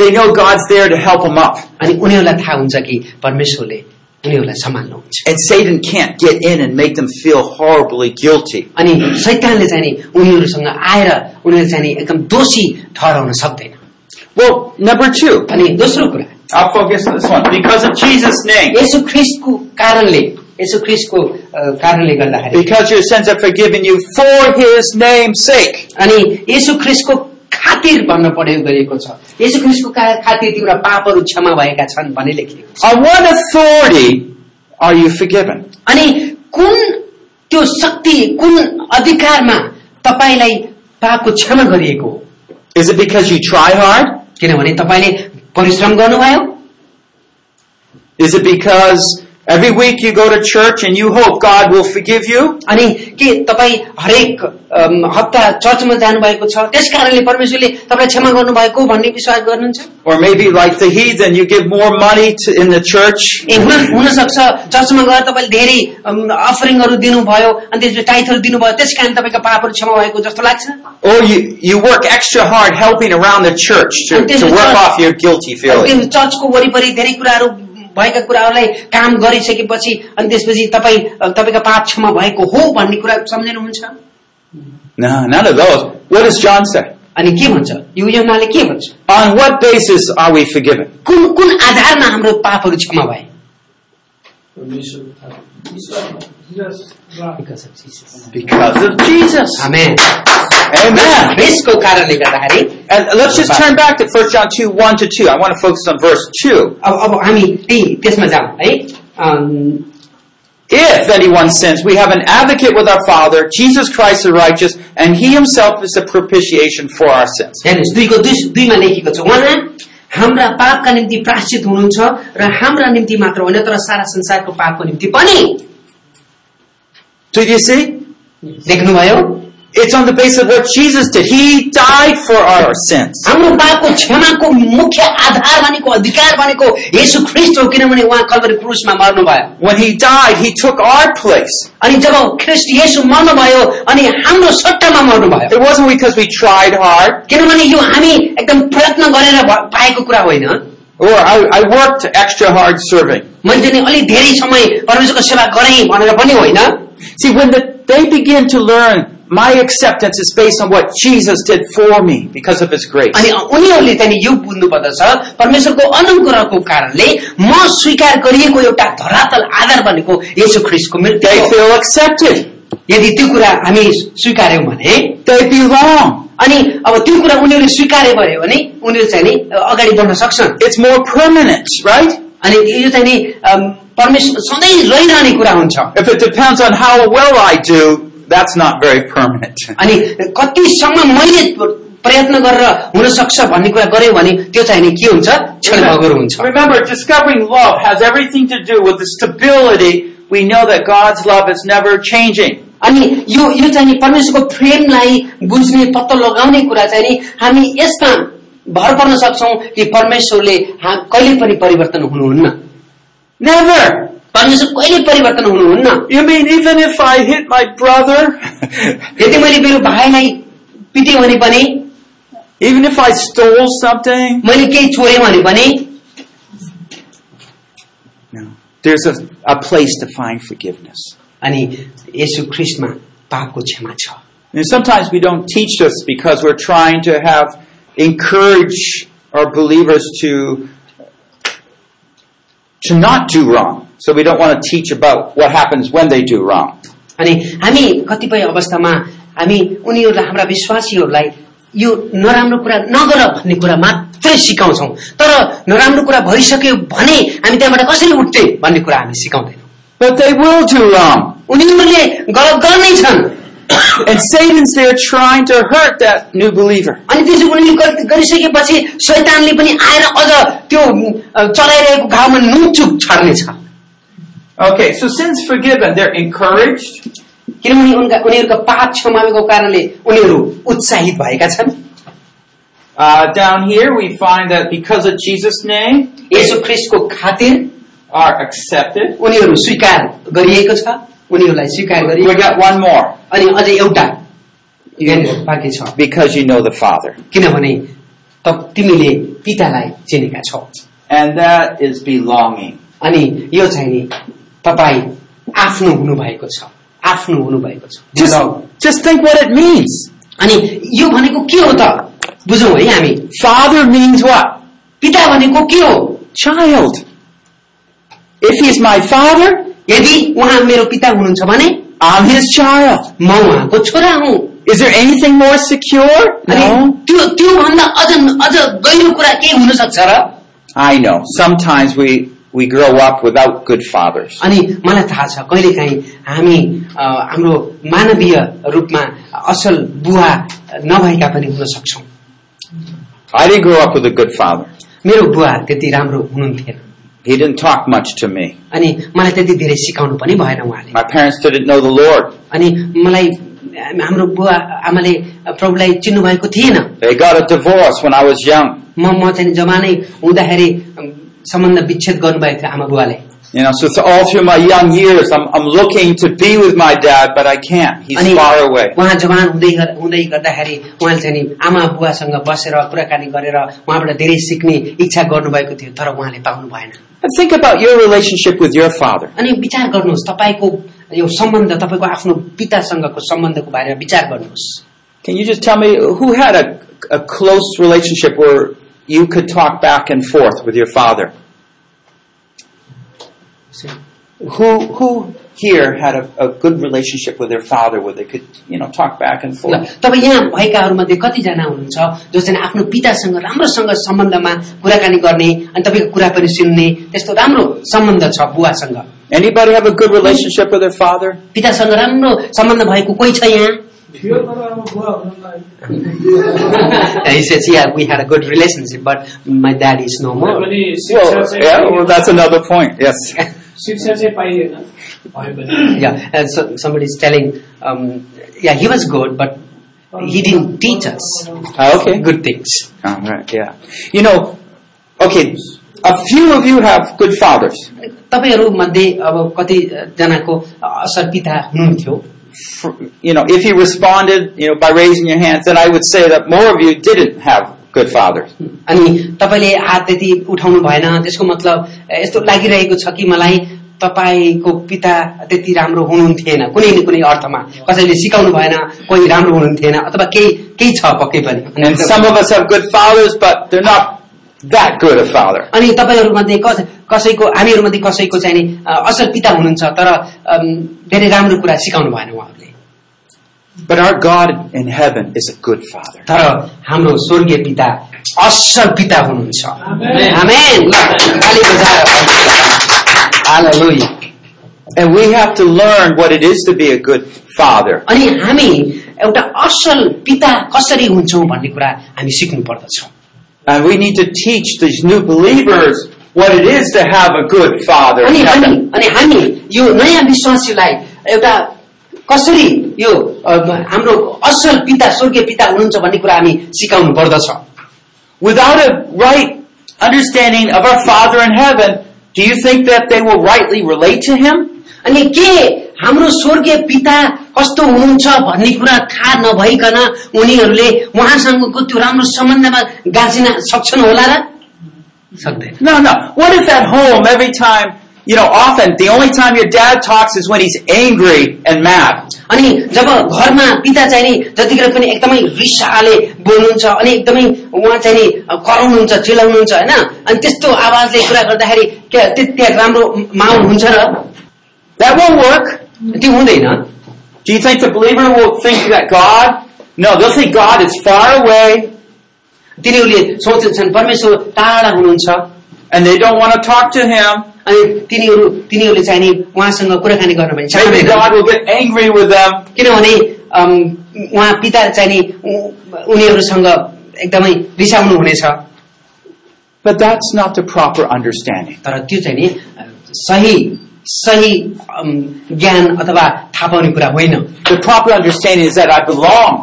Speaker 1: they know God's there to help them up.
Speaker 2: अनि उनीहरूलाई थाहा हुन्छ कि परमेश्वरले उनीहरूलाई सम्हाल्नुहुन्छ
Speaker 1: And Satan can't get in and make them feel horribly guilty.
Speaker 2: अनि शैतानले चाहिँ नि उनीहरूसँग आएर उनीहरू चाहिँ नि एकदम दोषी ठहराउन सक्दैन
Speaker 1: Well, number two,
Speaker 2: अनि दोस्रो कुरा
Speaker 1: I'll focus on this one. Because of Jesus' name.
Speaker 2: Yesu ख्रिस्टको कारणले यसु ख्रिस्टको अ, कारणले गर्दाखेरि
Speaker 1: Because your sins are forgiven you for his name's sake.
Speaker 2: अनि यसु ख्रिस्टको खातिर भन्न पढ्यो गरिएको छ यसु ख्रिस्टको का- खातिर तिम्रा पापहरू क्षमा भएका छन् भन्ने लेखिएको छ
Speaker 1: On what authority are you forgiven?
Speaker 2: अनि कुन त्यो शक्ति कुन अधिकारमा तपाईँलाई पापको क्षमा गरिएको हो
Speaker 1: Is it because you try hard?
Speaker 2: किनभने तपाईँले परिश्रम गर्नुभयो
Speaker 1: Is it because every week you go to church and you hope God will forgive you?
Speaker 2: अनि के तपाईँ हरेक अम, हप्ता चर्चमा जानुभएको छ त्यस कारणले परमेश्वरले तपाईँलाई क्षमा गर्नुभएको भन्ने विश्वास गर्नुहुन्छ
Speaker 1: Or maybe like the heathen, you give more money to, in the church
Speaker 2: ए हुन हुनसक्छ चर्चमा गएर तपाईँले धेरै अम, अफरिङहरू दिनुभयो अनि त्यसपछि टाइथहरू दिनुभयो त्यस कारण तपाईँको पापहरू क्षमा भएको जस्तो लाग्छ
Speaker 1: Or you, you work extra hard helping around the church to,
Speaker 2: And this
Speaker 1: to
Speaker 2: is
Speaker 1: work
Speaker 2: not-
Speaker 1: off your guilty
Speaker 2: अनि
Speaker 1: feeling.
Speaker 2: त्यो चर्चको वरिपरि धेरै कुराहरू भएका कुराहरूलाई काम गरिसकेपछि अनि त्यसपछि तपाईँ अ, तपाईँको पाप क्षमा भएको हो भन्ने कुरा सम्झिनुहुन्छ
Speaker 1: No, none of those. What does John say?
Speaker 2: अनि के भन्छ यो योनाले के भन्छ
Speaker 1: On what basis are we forgiven?
Speaker 2: कुन कुन आधारमा हाम्रो पापहरू क्षमा भए
Speaker 1: Because of Jesus.
Speaker 2: Amen.
Speaker 1: Amen.
Speaker 2: क्रिस्टको कारणले गर्दाखेरि
Speaker 1: And let's just turn back to 1 John 2, 1 to 2. I want to focus on verse 2.
Speaker 2: अब अब हामी त्यही त्यसमा जाउँ है अम्,
Speaker 1: If anyone sins, we have an advocate with our Father, Jesus Christ the righteous, and he himself is the propitiation for our sins.
Speaker 2: हेर्नुहोस् दुईको दुई दुईमा लेखेको छ उहाँ हाम्रा पापका निम्ति प्राश्चित हुनुहुन्छ र हाम्रा निम्ति मात्र होइन तर सारा संसारको पापको निम्ति पनि
Speaker 1: Do you see?
Speaker 2: देख्नुभयो
Speaker 1: It's on the basis of what Jesus did. He died for our sins.
Speaker 2: हाम्रो पापको क्षमाको मुख्य आधार भनेको अधिकार भनेको येशू ख्रिस्ट हो किनभने उहाँ Kalvari क्रुसमा मर्नुभयो
Speaker 1: When he died, he took our place.
Speaker 2: अनि जब ख्रिस्ट येशू मर्नुभयो अनि हाम्रो सट्टामा मर्नुभयो
Speaker 1: It wasn't because we tried hard
Speaker 2: किनभने यो हामी एकदम प्रयत्न गरेर भ- पाएको कुरा होइन
Speaker 1: or I, I worked extra hard serving.
Speaker 2: मैले चाहिँ अलिक धेरै समय परमेश्वरको सेवा गरेँ भनेर पनि होइन
Speaker 1: See, when the, they begin to learn my acceptance is based on what Jesus did for me because of his grace.
Speaker 2: अनि उनीहरूले चाहिँ नि यो बुझ्नु पर्दछ परमेश्वरको अनुग्रहको कारणले म स्वीकार गरिएको एउटा धरातल आधार भनेको यसो ख्रिस्टको मृत्यु
Speaker 1: They
Speaker 2: हो।
Speaker 1: feel accepted.
Speaker 2: यदि त्यो कुरा हामी स्वीकार्यौँ भने
Speaker 1: They belong.
Speaker 2: अनि अब त्यो कुरा उनीहरूले स्वीकार्य भयो भने उनीहरू चाहिँ नि अगाडि बढ्न सक्छन्
Speaker 1: It's more permanent, right?
Speaker 2: अनि यो चाहिँ नि अम, परमेश्वर सधैँ रहिरहने कुरा हुन्छ
Speaker 1: If it depends on how well I do, that's not very permanent.
Speaker 2: अनि कतिसम्म मैले प्रयत्न गरेर हुन सक्छ भन्ने कुरा गर्यो भने त्यो चाहिँ नि के हुन्छ क्षणभङ्गुर हुन्छ
Speaker 1: <laughs> Remember, discovering love has everything to do with the stability. We know that God's love is never changing.
Speaker 2: अनि यो यो चाहिँ नि परमेश्वरको प्रेमलाई बुझ्ने पत्तो लगाउने कुरा चाहिँ नि हामी यसमा भर पर्न सक्छौ कि परमेश्वरले हा- कहिले पनि परिवर्तन हुनुहुन्न
Speaker 1: Never.
Speaker 4: परमेश्वर कहिले परिवर्तन हुनुहुन्न
Speaker 1: You mean even if I hit my brother, <laughs>
Speaker 4: यदि मैले मेरो भाइलाई पिटेँ भने पनि
Speaker 1: even if I stole something?
Speaker 4: मैले केही चोरेँ भने पनि
Speaker 1: No. There's a, a place to find forgiveness.
Speaker 4: अनि यसु ख्रिस्टमा पापको क्षमा छ
Speaker 1: And sometimes we don't teach this because we're trying to have encourage our believers to to not do wrong. So we don't want to teach about what happens when they do wrong.
Speaker 4: अनि हामी कतिपय अवस्थामा हामी उनीहरूलाई हाम्रा विश्वासीहरूलाई यो नराम्रो कुरा नगर भन्ने कुरा मात्रै सिकाउँछौँ तर नराम्रो कुरा भइसक्यो भने हामी त्यहाँबाट कसरी उठ्ने भन्ने कुरा हामी सिकाउँदैनौँ
Speaker 1: But they will do wrong.
Speaker 4: उनीहरूले गलत गर्नै छन्
Speaker 1: And Satan's there trying to hurt that new believer.
Speaker 4: अनि त्यसो उनीले गलत गरिसकेपछि शैतानले पनि आएर अझ त्यो अ, चलाइरहेको घाउमा नुनचुक छर्नेछ
Speaker 6: Okay, so sin's forgiven. They're encouraged.
Speaker 4: किनभने उनका उनीहरूका पाप क्षमाएको कारणले उनीहरू उत्साहित भएका छन्
Speaker 6: Uh, down here, we find that because of Jesus' name,
Speaker 4: यसो ख्रिस्टको खातिर
Speaker 6: are accepted.
Speaker 4: उनीहरू स्वीकार गरिएको छ उनीहरूलाई स्वीकार
Speaker 6: We
Speaker 4: गरिएको
Speaker 6: got one more.
Speaker 4: अनि अझै एउटा यहाँनिर बाँकी छ
Speaker 1: Because you know the Father.
Speaker 4: किनभने त तिमीले पितालाई चिनेका छौ
Speaker 6: And that is belonging.
Speaker 4: अनि यो चाहिँ नि तपाईँ आफ्नो हुनुभएको छ आफ्नो हुनुभएको छ
Speaker 1: Just,
Speaker 4: बुझौँ
Speaker 1: just think what it means.
Speaker 4: अनि यो भनेको के हो त बुझौँ है हामी
Speaker 1: Father means what?
Speaker 4: पिता भनेको के हो
Speaker 1: Child. If he's my father,
Speaker 4: यदि उहाँ मेरो पिता हुनुहुन्छ भने
Speaker 1: I'm his child.
Speaker 4: म उहाँको छोरा हुँ
Speaker 1: Is there anything more secure?
Speaker 4: अनि त्यो त्यो भन्दा अझ अझ गहिरो कुरा के हुन सक्छ र
Speaker 1: I know. Sometimes we, we grow up without good fathers.
Speaker 4: अनि मलाई थाहा छ कहिलेकाहीँ हामी अ, हाम्रो मानवीय रूपमा असल बुवा नभएका पनि हुन सक्छौँ
Speaker 1: I didn't grow up with a good father.
Speaker 4: मेरो बुवा त्यति राम्रो हुनुहुन्थेन
Speaker 1: He didn't talk much to me.
Speaker 4: अनि मलाई त्यति धेरै सिकाउनु पनि भएन उहाँले
Speaker 1: My parents didn't know the Lord.
Speaker 4: अनि मलाई अ, हाम्रो बुवा आमाले प्रभुलाई चिन्नु भएको थिएन
Speaker 1: They got a divorce when I was young.
Speaker 4: म म चाहिँ जमानै हुँदाखेरि अम, सम्बन्ध विच्छेद गर्नुभएको थियो आमा बुवाले
Speaker 1: You know, so it's all through my young years. I'm, I'm looking to be with my dad, but I can't.
Speaker 4: अनि
Speaker 1: He's far away.
Speaker 4: उहाँ जवान हुँदै गर- हुँदै गर्दाखेरि उहाँले चाहिँ नि आमा बुवासँग बसेर कुराकानी गरेर उहाँबाट धेरै सिक्ने इच्छा गर्नुभएको थियो तर उहाँले पाउनु भएन
Speaker 1: And think about your relationship with your father.
Speaker 4: अनि विचार गर्नुहोस् तपाईँको यो सम्बन्ध तपाईँको आफ्नो पितासँगको सम्बन्धको बारेमा विचार गर्नुहोस्
Speaker 1: Can you just tell me who had a, a close relationship where you could talk back and forth with your father? Who who here had a, a good relationship with their father where they could you know talk back and
Speaker 4: ल
Speaker 1: forth?
Speaker 4: तपाईँ यहाँ भएकाहरूमध्ये कतिजना हुनुहुन्छ जो चाहिँ आफ्नो पितासँग राम्रोसँग सम्बन्धमा कुराकानी गर्ने अनि तपाईँको कुरा पनि सुन्ने त्यस्तो राम्रो सम्बन्ध छ बुवासँग
Speaker 1: Anybody have a good relationship with their father?
Speaker 4: पितासँग राम्रो सम्बन्ध भएको कोही छ यहाँ
Speaker 5: थियो तर अब बुवा हुनुहुन्न
Speaker 4: he says, yeah, we had a good relationship, but my dad is no more.
Speaker 5: भने शिक्षा
Speaker 1: Well, yeah,
Speaker 5: चाहिँ
Speaker 1: well, that's another point. Yes.
Speaker 5: शिक्षा चाहिँ पाइएन भयो भने
Speaker 4: Yeah, and so somebody is telling, um, yeah, he was good, but he didn't teach us
Speaker 1: Ah, <laughs> okay.
Speaker 4: good things.
Speaker 1: All right. Yeah. You know. Okay. A few of you have good fathers.
Speaker 4: तपाईँहरू मध्ये अब कतिजनाको असल पिता हुनुहुन्थ्यो
Speaker 1: For- You know, if you responded, you know, by raising your hands, then I would say that more of you didn't have good fathers.
Speaker 4: अनि तपाईँले हात त्यति उठाउनु भएन त्यसको मतलब ए, यस्तो लागिरहेको छ कि मलाई तपाईँको पिता त्यति राम्रो हुनुहुन्थेन कुनै न कुनै अर्थमा कसैले सिकाउनु भएन कोही राम्रो हुनुहुन्थेन अथवा केही केही छ पक्कै पनि
Speaker 1: And some of us have good fathers, but they're not that good a father.
Speaker 4: अनि तपाईँहरूमध्ये कस कसैको हामीहरूमध्ये कसैको चाहिँ नि अ, असल पिता हुनुहुन्छ तर अम, धेरै राम्रो कुरा सिकाउनु भएन उहाँहरूले
Speaker 1: But our God in heaven is a good father.
Speaker 4: तर हाम्रो स्वर्गीय पिता असल पिता हुनुहुन्छ
Speaker 5: आमेन।
Speaker 4: आमेन। ल, ताली बजाएर भन्नुहोस्। Hallelujah.
Speaker 1: And we have to learn what it is to be a good father.
Speaker 4: अनि हामी एउटा असल पिता कसरी हुन्छौँ भन्ने कुरा हामी सिक्नु पर्दछौँ
Speaker 1: And we need to teach these new believers what it is to have a good father.
Speaker 4: अनि हामी अनि हामी यो नयाँ विश्वासीलाई एउटा कसरी यो अ, हाम्रो असल पिता स्वर्गीय पिता हुनुहुन्छ भन्ने कुरा हामी सिकाउनु पर्दछ
Speaker 1: Without a right understanding of our Father in heaven, Do you think that they will rightly relate to him?
Speaker 4: अनि के हाम्रो स्वर्गीय पिता कस्तो हुनुहुन्छ भन्ने कुरा थाहा नभइकन उनीहरूले उहाँसँगको त्यो राम्रो सम्बन्धमा गाँचिन सक्छन् होला र सक्दैन
Speaker 1: No, no. What if at home every time, you know, often the only time your dad talks is when he's angry and mad?
Speaker 4: अनि जब घरमा पिता चाहिँ नि जतिखेर पनि एकदमै रिसाले बोल्नुहुन्छ अनि एकदमै उहाँ चाहिँ नि कराउनुहुन्छ चिलाउनुहुन्छ होइन अनि त्यस्तो आवाजले कुरा गर्दाखेरि क्या- त्यति राम्रो माहौल हुन्छ र
Speaker 1: That won't work.
Speaker 4: त्यो हुँदैन
Speaker 1: Do you think the believer will think that God? No, they'll think God is far away
Speaker 4: तिनीहरूले सोचेछन् परमेश्वर टाढा हुनुहुन्छ
Speaker 1: and they don't want to talk to him.
Speaker 4: अनि तिनीहरू तिनीहरूले चाहिँ नि उहाँसँग कुराकानी गर्न पनि
Speaker 1: Maybe God
Speaker 4: चाहँदैन
Speaker 1: will get angry with them.
Speaker 4: किनभने अम, उहाँ पिता चाहिँ नि उ- उनीहरूसँग एकदमै रिसाउनु हुनेछ
Speaker 1: But that's not the proper understanding.
Speaker 4: तर त्यो चाहिँ नि सही सही अम, ज्ञान अथवा थाहा पाउने कुरा होइन
Speaker 1: The proper understanding is that I belong.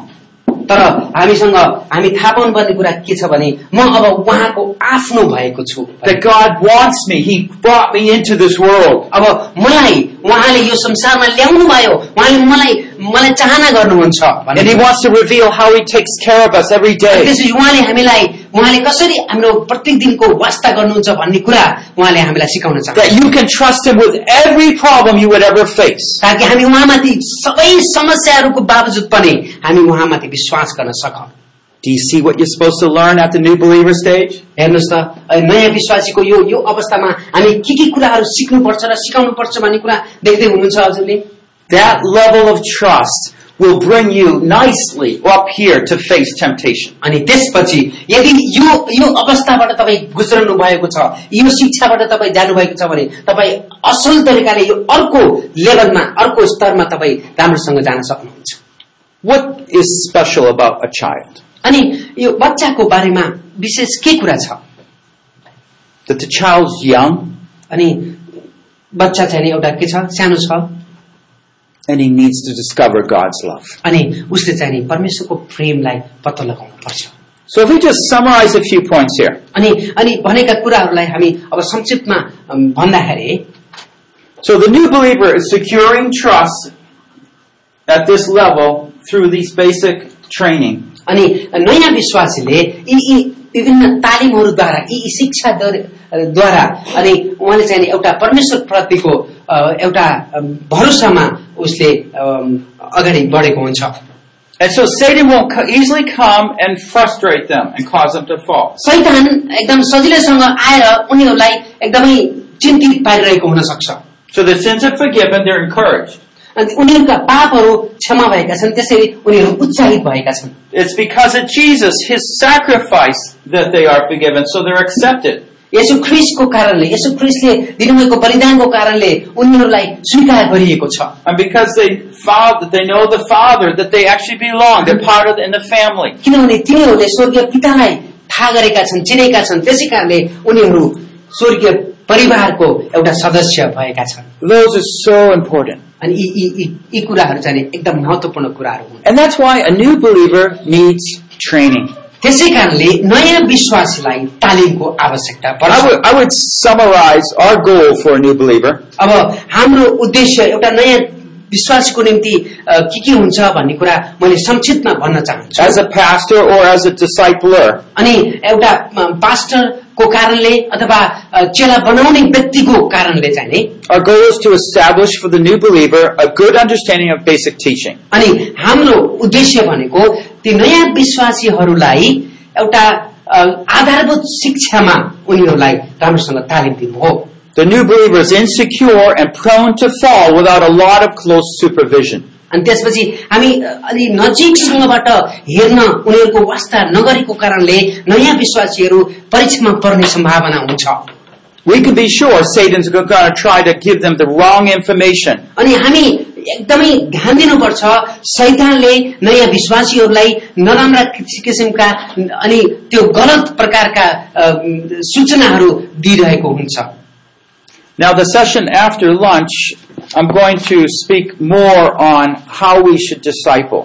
Speaker 4: तर हामीसँग हामी थाहा पाउनुपर्ने कुरा के छ भने म अब उहाँको आफ्नो भएको छु
Speaker 1: That God wants me. He brought me into this world.
Speaker 4: अब मलाई उहाँले यो संसारमा ल्याउनु भयो उहाँले मलाई मलाई चाहना गर्नुहुन्छ
Speaker 1: And He
Speaker 4: भने
Speaker 1: wants to reveal how He takes care of us every day.
Speaker 4: त्यसपछि उहाँले हामीलाई उहाँले कसरी हाम्रो प्रत्येक दिनको वास्ता गर्नुहुन्छ भन्ने कुरा उहाँले हामीलाई सिकाउन चाहन्छ
Speaker 1: That you can trust Him with every problem you would ever face.
Speaker 4: ताकि हामी उहाँमाथि सबै समस्याहरूको बावजुद पनि हामी उहाँमाथि विश्वास गर्न सकौँ
Speaker 1: Do you see what you're supposed to learn at the new believer stage?
Speaker 4: हेर्नुहोस् त अ, नयाँ विश्वासीको यो यो अवस्थामा हामी के के कुराहरू सिक्नुपर्छ र सिकाउनुपर्छ भन्ने कुरा देख्दै हुनुहुन्छ हजुरले
Speaker 1: That level of trust will bring you nicely up here to face temptation.
Speaker 4: अनि त्यसपछि यदि यो यो अवस्थाबाट तपाईँ गुज्रनु भएको छ यो शिक्षाबाट तपाईँ जानुभएको छ भने तपाईँ असल तरिकाले यो अर्को लेभलमा अर्को स्तरमा तपाईँ राम्रोसँग जान सक्नुहुन्छ
Speaker 1: What is special about a child?
Speaker 4: अनि यो बच्चाको बारेमा विशेष के कुरा छ
Speaker 1: That the child's young
Speaker 4: अनि बच्चा चाहिँ नि एउटा के छ सानो छ
Speaker 1: and he needs to discover God's love.
Speaker 4: अनि उसले चाहिँ नि परमेश्वरको प्रेमलाई पत्तो लगाउनु पर्छ
Speaker 1: So if we just summarize a few points here.
Speaker 4: अनि अनि भनेका कुराहरूलाई हामी अब संक्षिप्तमा अम, भन्दाखेरि
Speaker 1: So the new believer is securing trust at this level through these basic training.
Speaker 4: अनि नयाँ विश्वासीले यी यी विभिन्न तालिमहरूद्वारा यी यी शिक्षाद्वारा अनि उहाँले चाहिँ नि एउटा परमेश्वर प्रतिको अ, एउटा अम, भरोसामा उसले अम, अगाडि बढेको हुन्छ
Speaker 1: And so Satan will co- easily come and frustrate them and cause them to fall.
Speaker 4: सैतान एकदम सजिलैसँग आएर उनीहरूलाई एकदमै चिन्तित पारिरहेको हुन सक्छ
Speaker 1: So their sins are forgiven, they're encouraged.
Speaker 4: अनि उनीहरूका पापहरू क्षमा भएका छन् त्यसरी उनीहरू उत्साहित भएका छन्
Speaker 1: It's because of Jesus, his sacrifice, that they are forgiven, so they're accepted.
Speaker 4: यसो ख्रिसको कारणले यसो ख्रिसले दिनुभएको बलिदानको कारणले उनीहरूलाई स्वीकार गरिएको छ
Speaker 1: And because they found that they know the Father, that they actually belong, they're part of in the family.
Speaker 4: किनभने तिनीहरूले स्वर्गीय पितालाई थाहा गरेका छन् चिनेका छन् त्यसै कारणले उनीहरू स्वर्गीय परिवारको एउटा सदस्य भएका छन्
Speaker 1: Those are so important.
Speaker 4: अनि यी यी- यी यी कुराहरू चाहिँ नि एकदम महत्वपूर्ण कुराहरू हुन्
Speaker 1: And that's why a new believer needs training.
Speaker 4: त्यसै कारणले नयाँ विश्वासलाई तालिमको आवश्यकता पर्छ
Speaker 1: I would, I would summarize our goal for a new believer
Speaker 4: अब हाम्रो उद्देश्य एउटा नयाँ विश्वासको निम्ति अ, के के हुन्छ भन्ने कुरा मैले संक्षिप्तमा भन्न चाहन्छु
Speaker 1: as a pastor or as a discipler
Speaker 4: अनि एउटा अ, पास्टरको कारणले अथवा अ, चेला बनाउने व्यक्तिको कारणले चाहिँ नि
Speaker 1: our goal is to establish for the new believer a good understanding of basic teaching
Speaker 4: अनि हाम्रो उद्देश्य भनेको ती नयाँ विश्वासीहरूलाई एउटा अ, आधारभूत शिक्षामा उनीहरूलाई राम्रोसँग तालिम दिनु हो
Speaker 1: the new believer is insecure and prone to fall without a lot of close supervision
Speaker 4: अनि त्यसपछि हामी अलि नजिकसँगबाट हेर्न उनीहरूको वास्ता नगरेको कारणले नयाँ विश्वासीहरू परीक्षामा पर्ने सम्भावना हुन्छ
Speaker 1: we can be sure satan's going to try to give them the wrong information
Speaker 4: अनि हामी एकदमै ध्यान दिनुपर्छ सैतानले नयाँ विश्वासीहरूलाई नराम्रा किस- किसिमका अनि त्यो गलत प्रकारका अ, सूचनाहरू दिइरहेको हुन्छ
Speaker 1: now the session after lunch i'm going to speak more on how we should disciple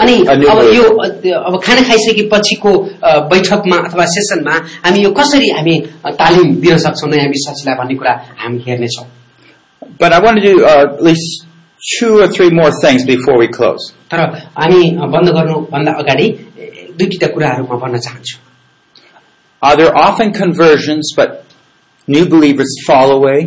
Speaker 4: अनि
Speaker 1: A new
Speaker 4: अब
Speaker 1: birth.
Speaker 4: यो अ, त्यो, अब खाना खाइसकेपछिको अ, बैठकमा अथवा सेसनमा हामी यो कसरी हामी अ, तालिम दिन सक्छौँ नयाँ विश्वासीलाई भन्ने कुरा हामी हेर्नेछौँ
Speaker 1: But I want to do uh, at least two or three more things before we close.
Speaker 4: तर हामी अ, बन्द गर्नुभन्दा अगाडि ए, दुई तिनवटा कुराहरू म भन्न चाहन्छु
Speaker 1: Are Uh, there often conversions, but new believers fall away?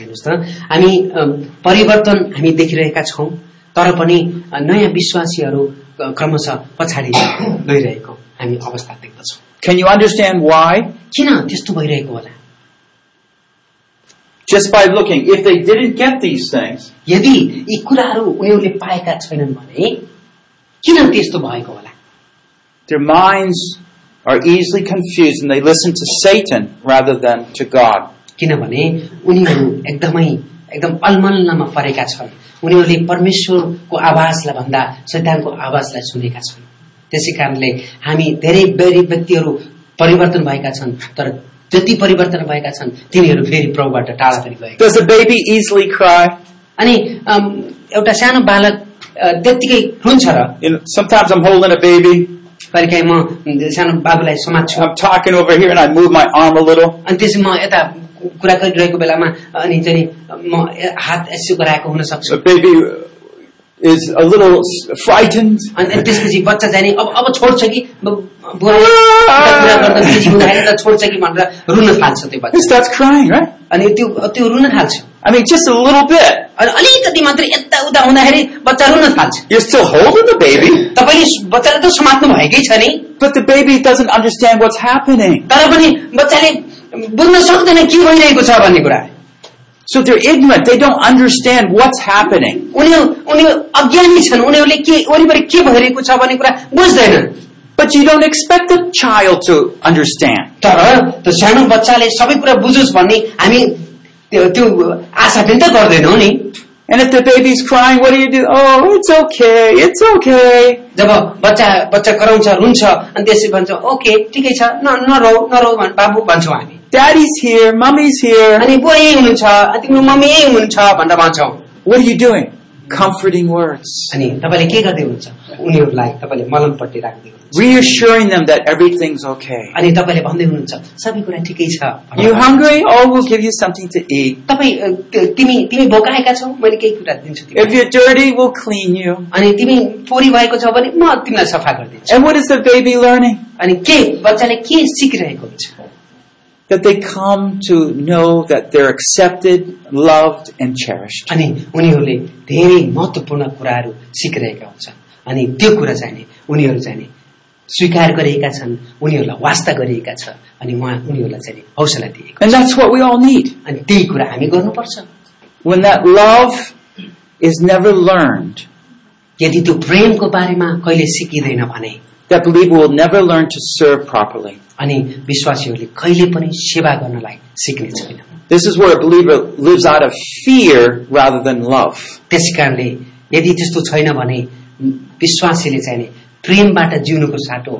Speaker 4: हेर्नुहोस् त हामी अ, परिवर्तन हामी देखिरहेका छौँ तर पनि अ, नयाँ विश्वासीहरू अ, क्रमशः पछाडि गइरहेको हामी अवस्था देख्दछौँ
Speaker 1: Can you understand why?
Speaker 4: किन त्यस्तो भइरहेको होला
Speaker 1: Just by looking. If they didn't get these things,
Speaker 4: यदि यी कुराहरू उनीहरूले पाएका छैनन् भने किन त्यस्तो भएको होला
Speaker 1: their minds are easily confused and they listen to Satan rather than to God.
Speaker 4: किनभने उनीहरू एकदमै एकदम अलमल्लमा परेका छन् उनीहरूले परमेश्वरको आवाजलाई भन्दा शैतानको आवाजलाई सुनेका छन् त्यसै कारणले हामी धेरै बेरी व्यक्तिहरू परिवर्तन भएका छन् तर जति परिवर्तन भएका छन् तिनीहरू फेरि प्रभुबाट टाढा पनि गएका
Speaker 1: Does a baby easily cry?
Speaker 4: अनि अम, एउटा सानो बालक अ, त्यत्तिकै रुन्छ र
Speaker 1: You know, sometimes I'm holding a baby,
Speaker 4: कहिलेकाहीँ म सानो बाबुलाई समात्छु
Speaker 1: I'm talking over here, and I move my arm a little.
Speaker 4: अनि त्यसै म यता कुरा गरिरहेको बेलामा अनि चाहिँ म हात यसो गराएको हुन सक्छु
Speaker 1: The baby is a little s- frightened.
Speaker 4: अनि अनि त्यसपछि बच्चा जाने अब अब छोड्छ कि ब- बुवा यता कुरा गर्दा पिछे हुँदाखेरि त छोड्छ कि भनेर रुन थाल्छ
Speaker 1: He
Speaker 4: त्यो बच्चा
Speaker 1: starts crying, right?
Speaker 4: अनि त्यो त्यो रुन थाल्छ
Speaker 1: I mean, just a little bit.
Speaker 4: अनि अलिकति मात्रै यताउता हुँदाखेरि बच्चा रुन थाल्छ
Speaker 1: You're still holding the baby,
Speaker 4: तपाईँले बच्चालाई त समात्नु भएकै छ नि
Speaker 1: but the baby doesn't understand what's happening.
Speaker 4: तर पनि बच्चाले बुझ्न सक्दैन के भइरहेको छ भन्ने कुरा
Speaker 1: So they're ignorant. They don't understand what's happening.
Speaker 4: उनीहरू उनीहरू अज्ञानी छन् उनीहरूले के वरिपरि के भइरहेको छ भन्ने कुरा बुझ्दैनन्
Speaker 1: But you don't expect a child to understand.
Speaker 4: तर त्यो सानो बच्चाले सबै कुरा बुझोस् भन्ने हामी त्यो त्यो आशा पनि त गर्दैनौ नि
Speaker 1: And if the baby's crying, what do you do? Oh, it's okay. It's okay.
Speaker 4: जब बच्चा बच्चा कराउँछ रुन्छ अनि त्यसै भन्छ ओके ठिकै छ न नरौ नरौ भन् बाबु भन्छौँ हामी
Speaker 1: Daddy's here. Mommy's here.
Speaker 4: अनि बुवा यही हुनुहुन्छ अनि तिम्रो मम्मी यही हुनुहुन्छ भनेर भन्छौँ
Speaker 1: What are you doing? Comforting words.
Speaker 4: अनि तपाईँले के गर्दै हुनुहुन्छ उनीहरूलाई तपाईँले मलमपट्टि राख्दै हुनुहुन्छ
Speaker 1: Reassuring them that everything's okay.
Speaker 4: अनि तपाईँले भन्दै हुनुहुन्छ सबै कुरा ठिकै छ भनेर।
Speaker 1: You hungry? Oh, we'll give you something to eat.
Speaker 4: तपाईँ अ, त्यो- तिमी तिमी भोकाएका छौ मैले केही कुरा दिन्छु
Speaker 1: If
Speaker 4: तिमीलाई।
Speaker 1: you're dirty, we'll clean you.
Speaker 4: अनि तिमी फोरी भएको छौ भने म तिमीलाई सफा गरिदिन्छु
Speaker 1: And what is the baby learning?
Speaker 4: अनि के बच्चाले के सिकिरहेको हुन्छ
Speaker 1: that they come to know that they're accepted, loved, and cherished.
Speaker 4: अनि उनीहरूले धेरै महत्वपूर्ण कुराहरू सिकिरहेका हुन्छन् अनि त्यो कुरा चाहिने उनीहरू चाहिने स्वीकार गरिएका छन् उनीहरूलाई वास्ता गरिएका छ अनि उहाँ उनीहरूलाई चाहिने हौसला दिएको
Speaker 1: And that's what we all need.
Speaker 4: अनि त्यही कुरा हामी गर्नुपर्छ
Speaker 1: When that love is never learned,
Speaker 4: यदि त्यो प्रेमको बारेमा कहिले सिकिँदैन भने
Speaker 1: that believer will never learn to serve properly.
Speaker 4: अनि विश्वासीहरूले कहिले पनि सेवा गर्नलाई सिक्ने छैन
Speaker 1: This is where a believer lives out of fear rather than love.
Speaker 4: त्यसै कारणले यदि त्यस्तो छैन भने विश्वासीले चाहिने प्रेमबाट जिउनुको साटो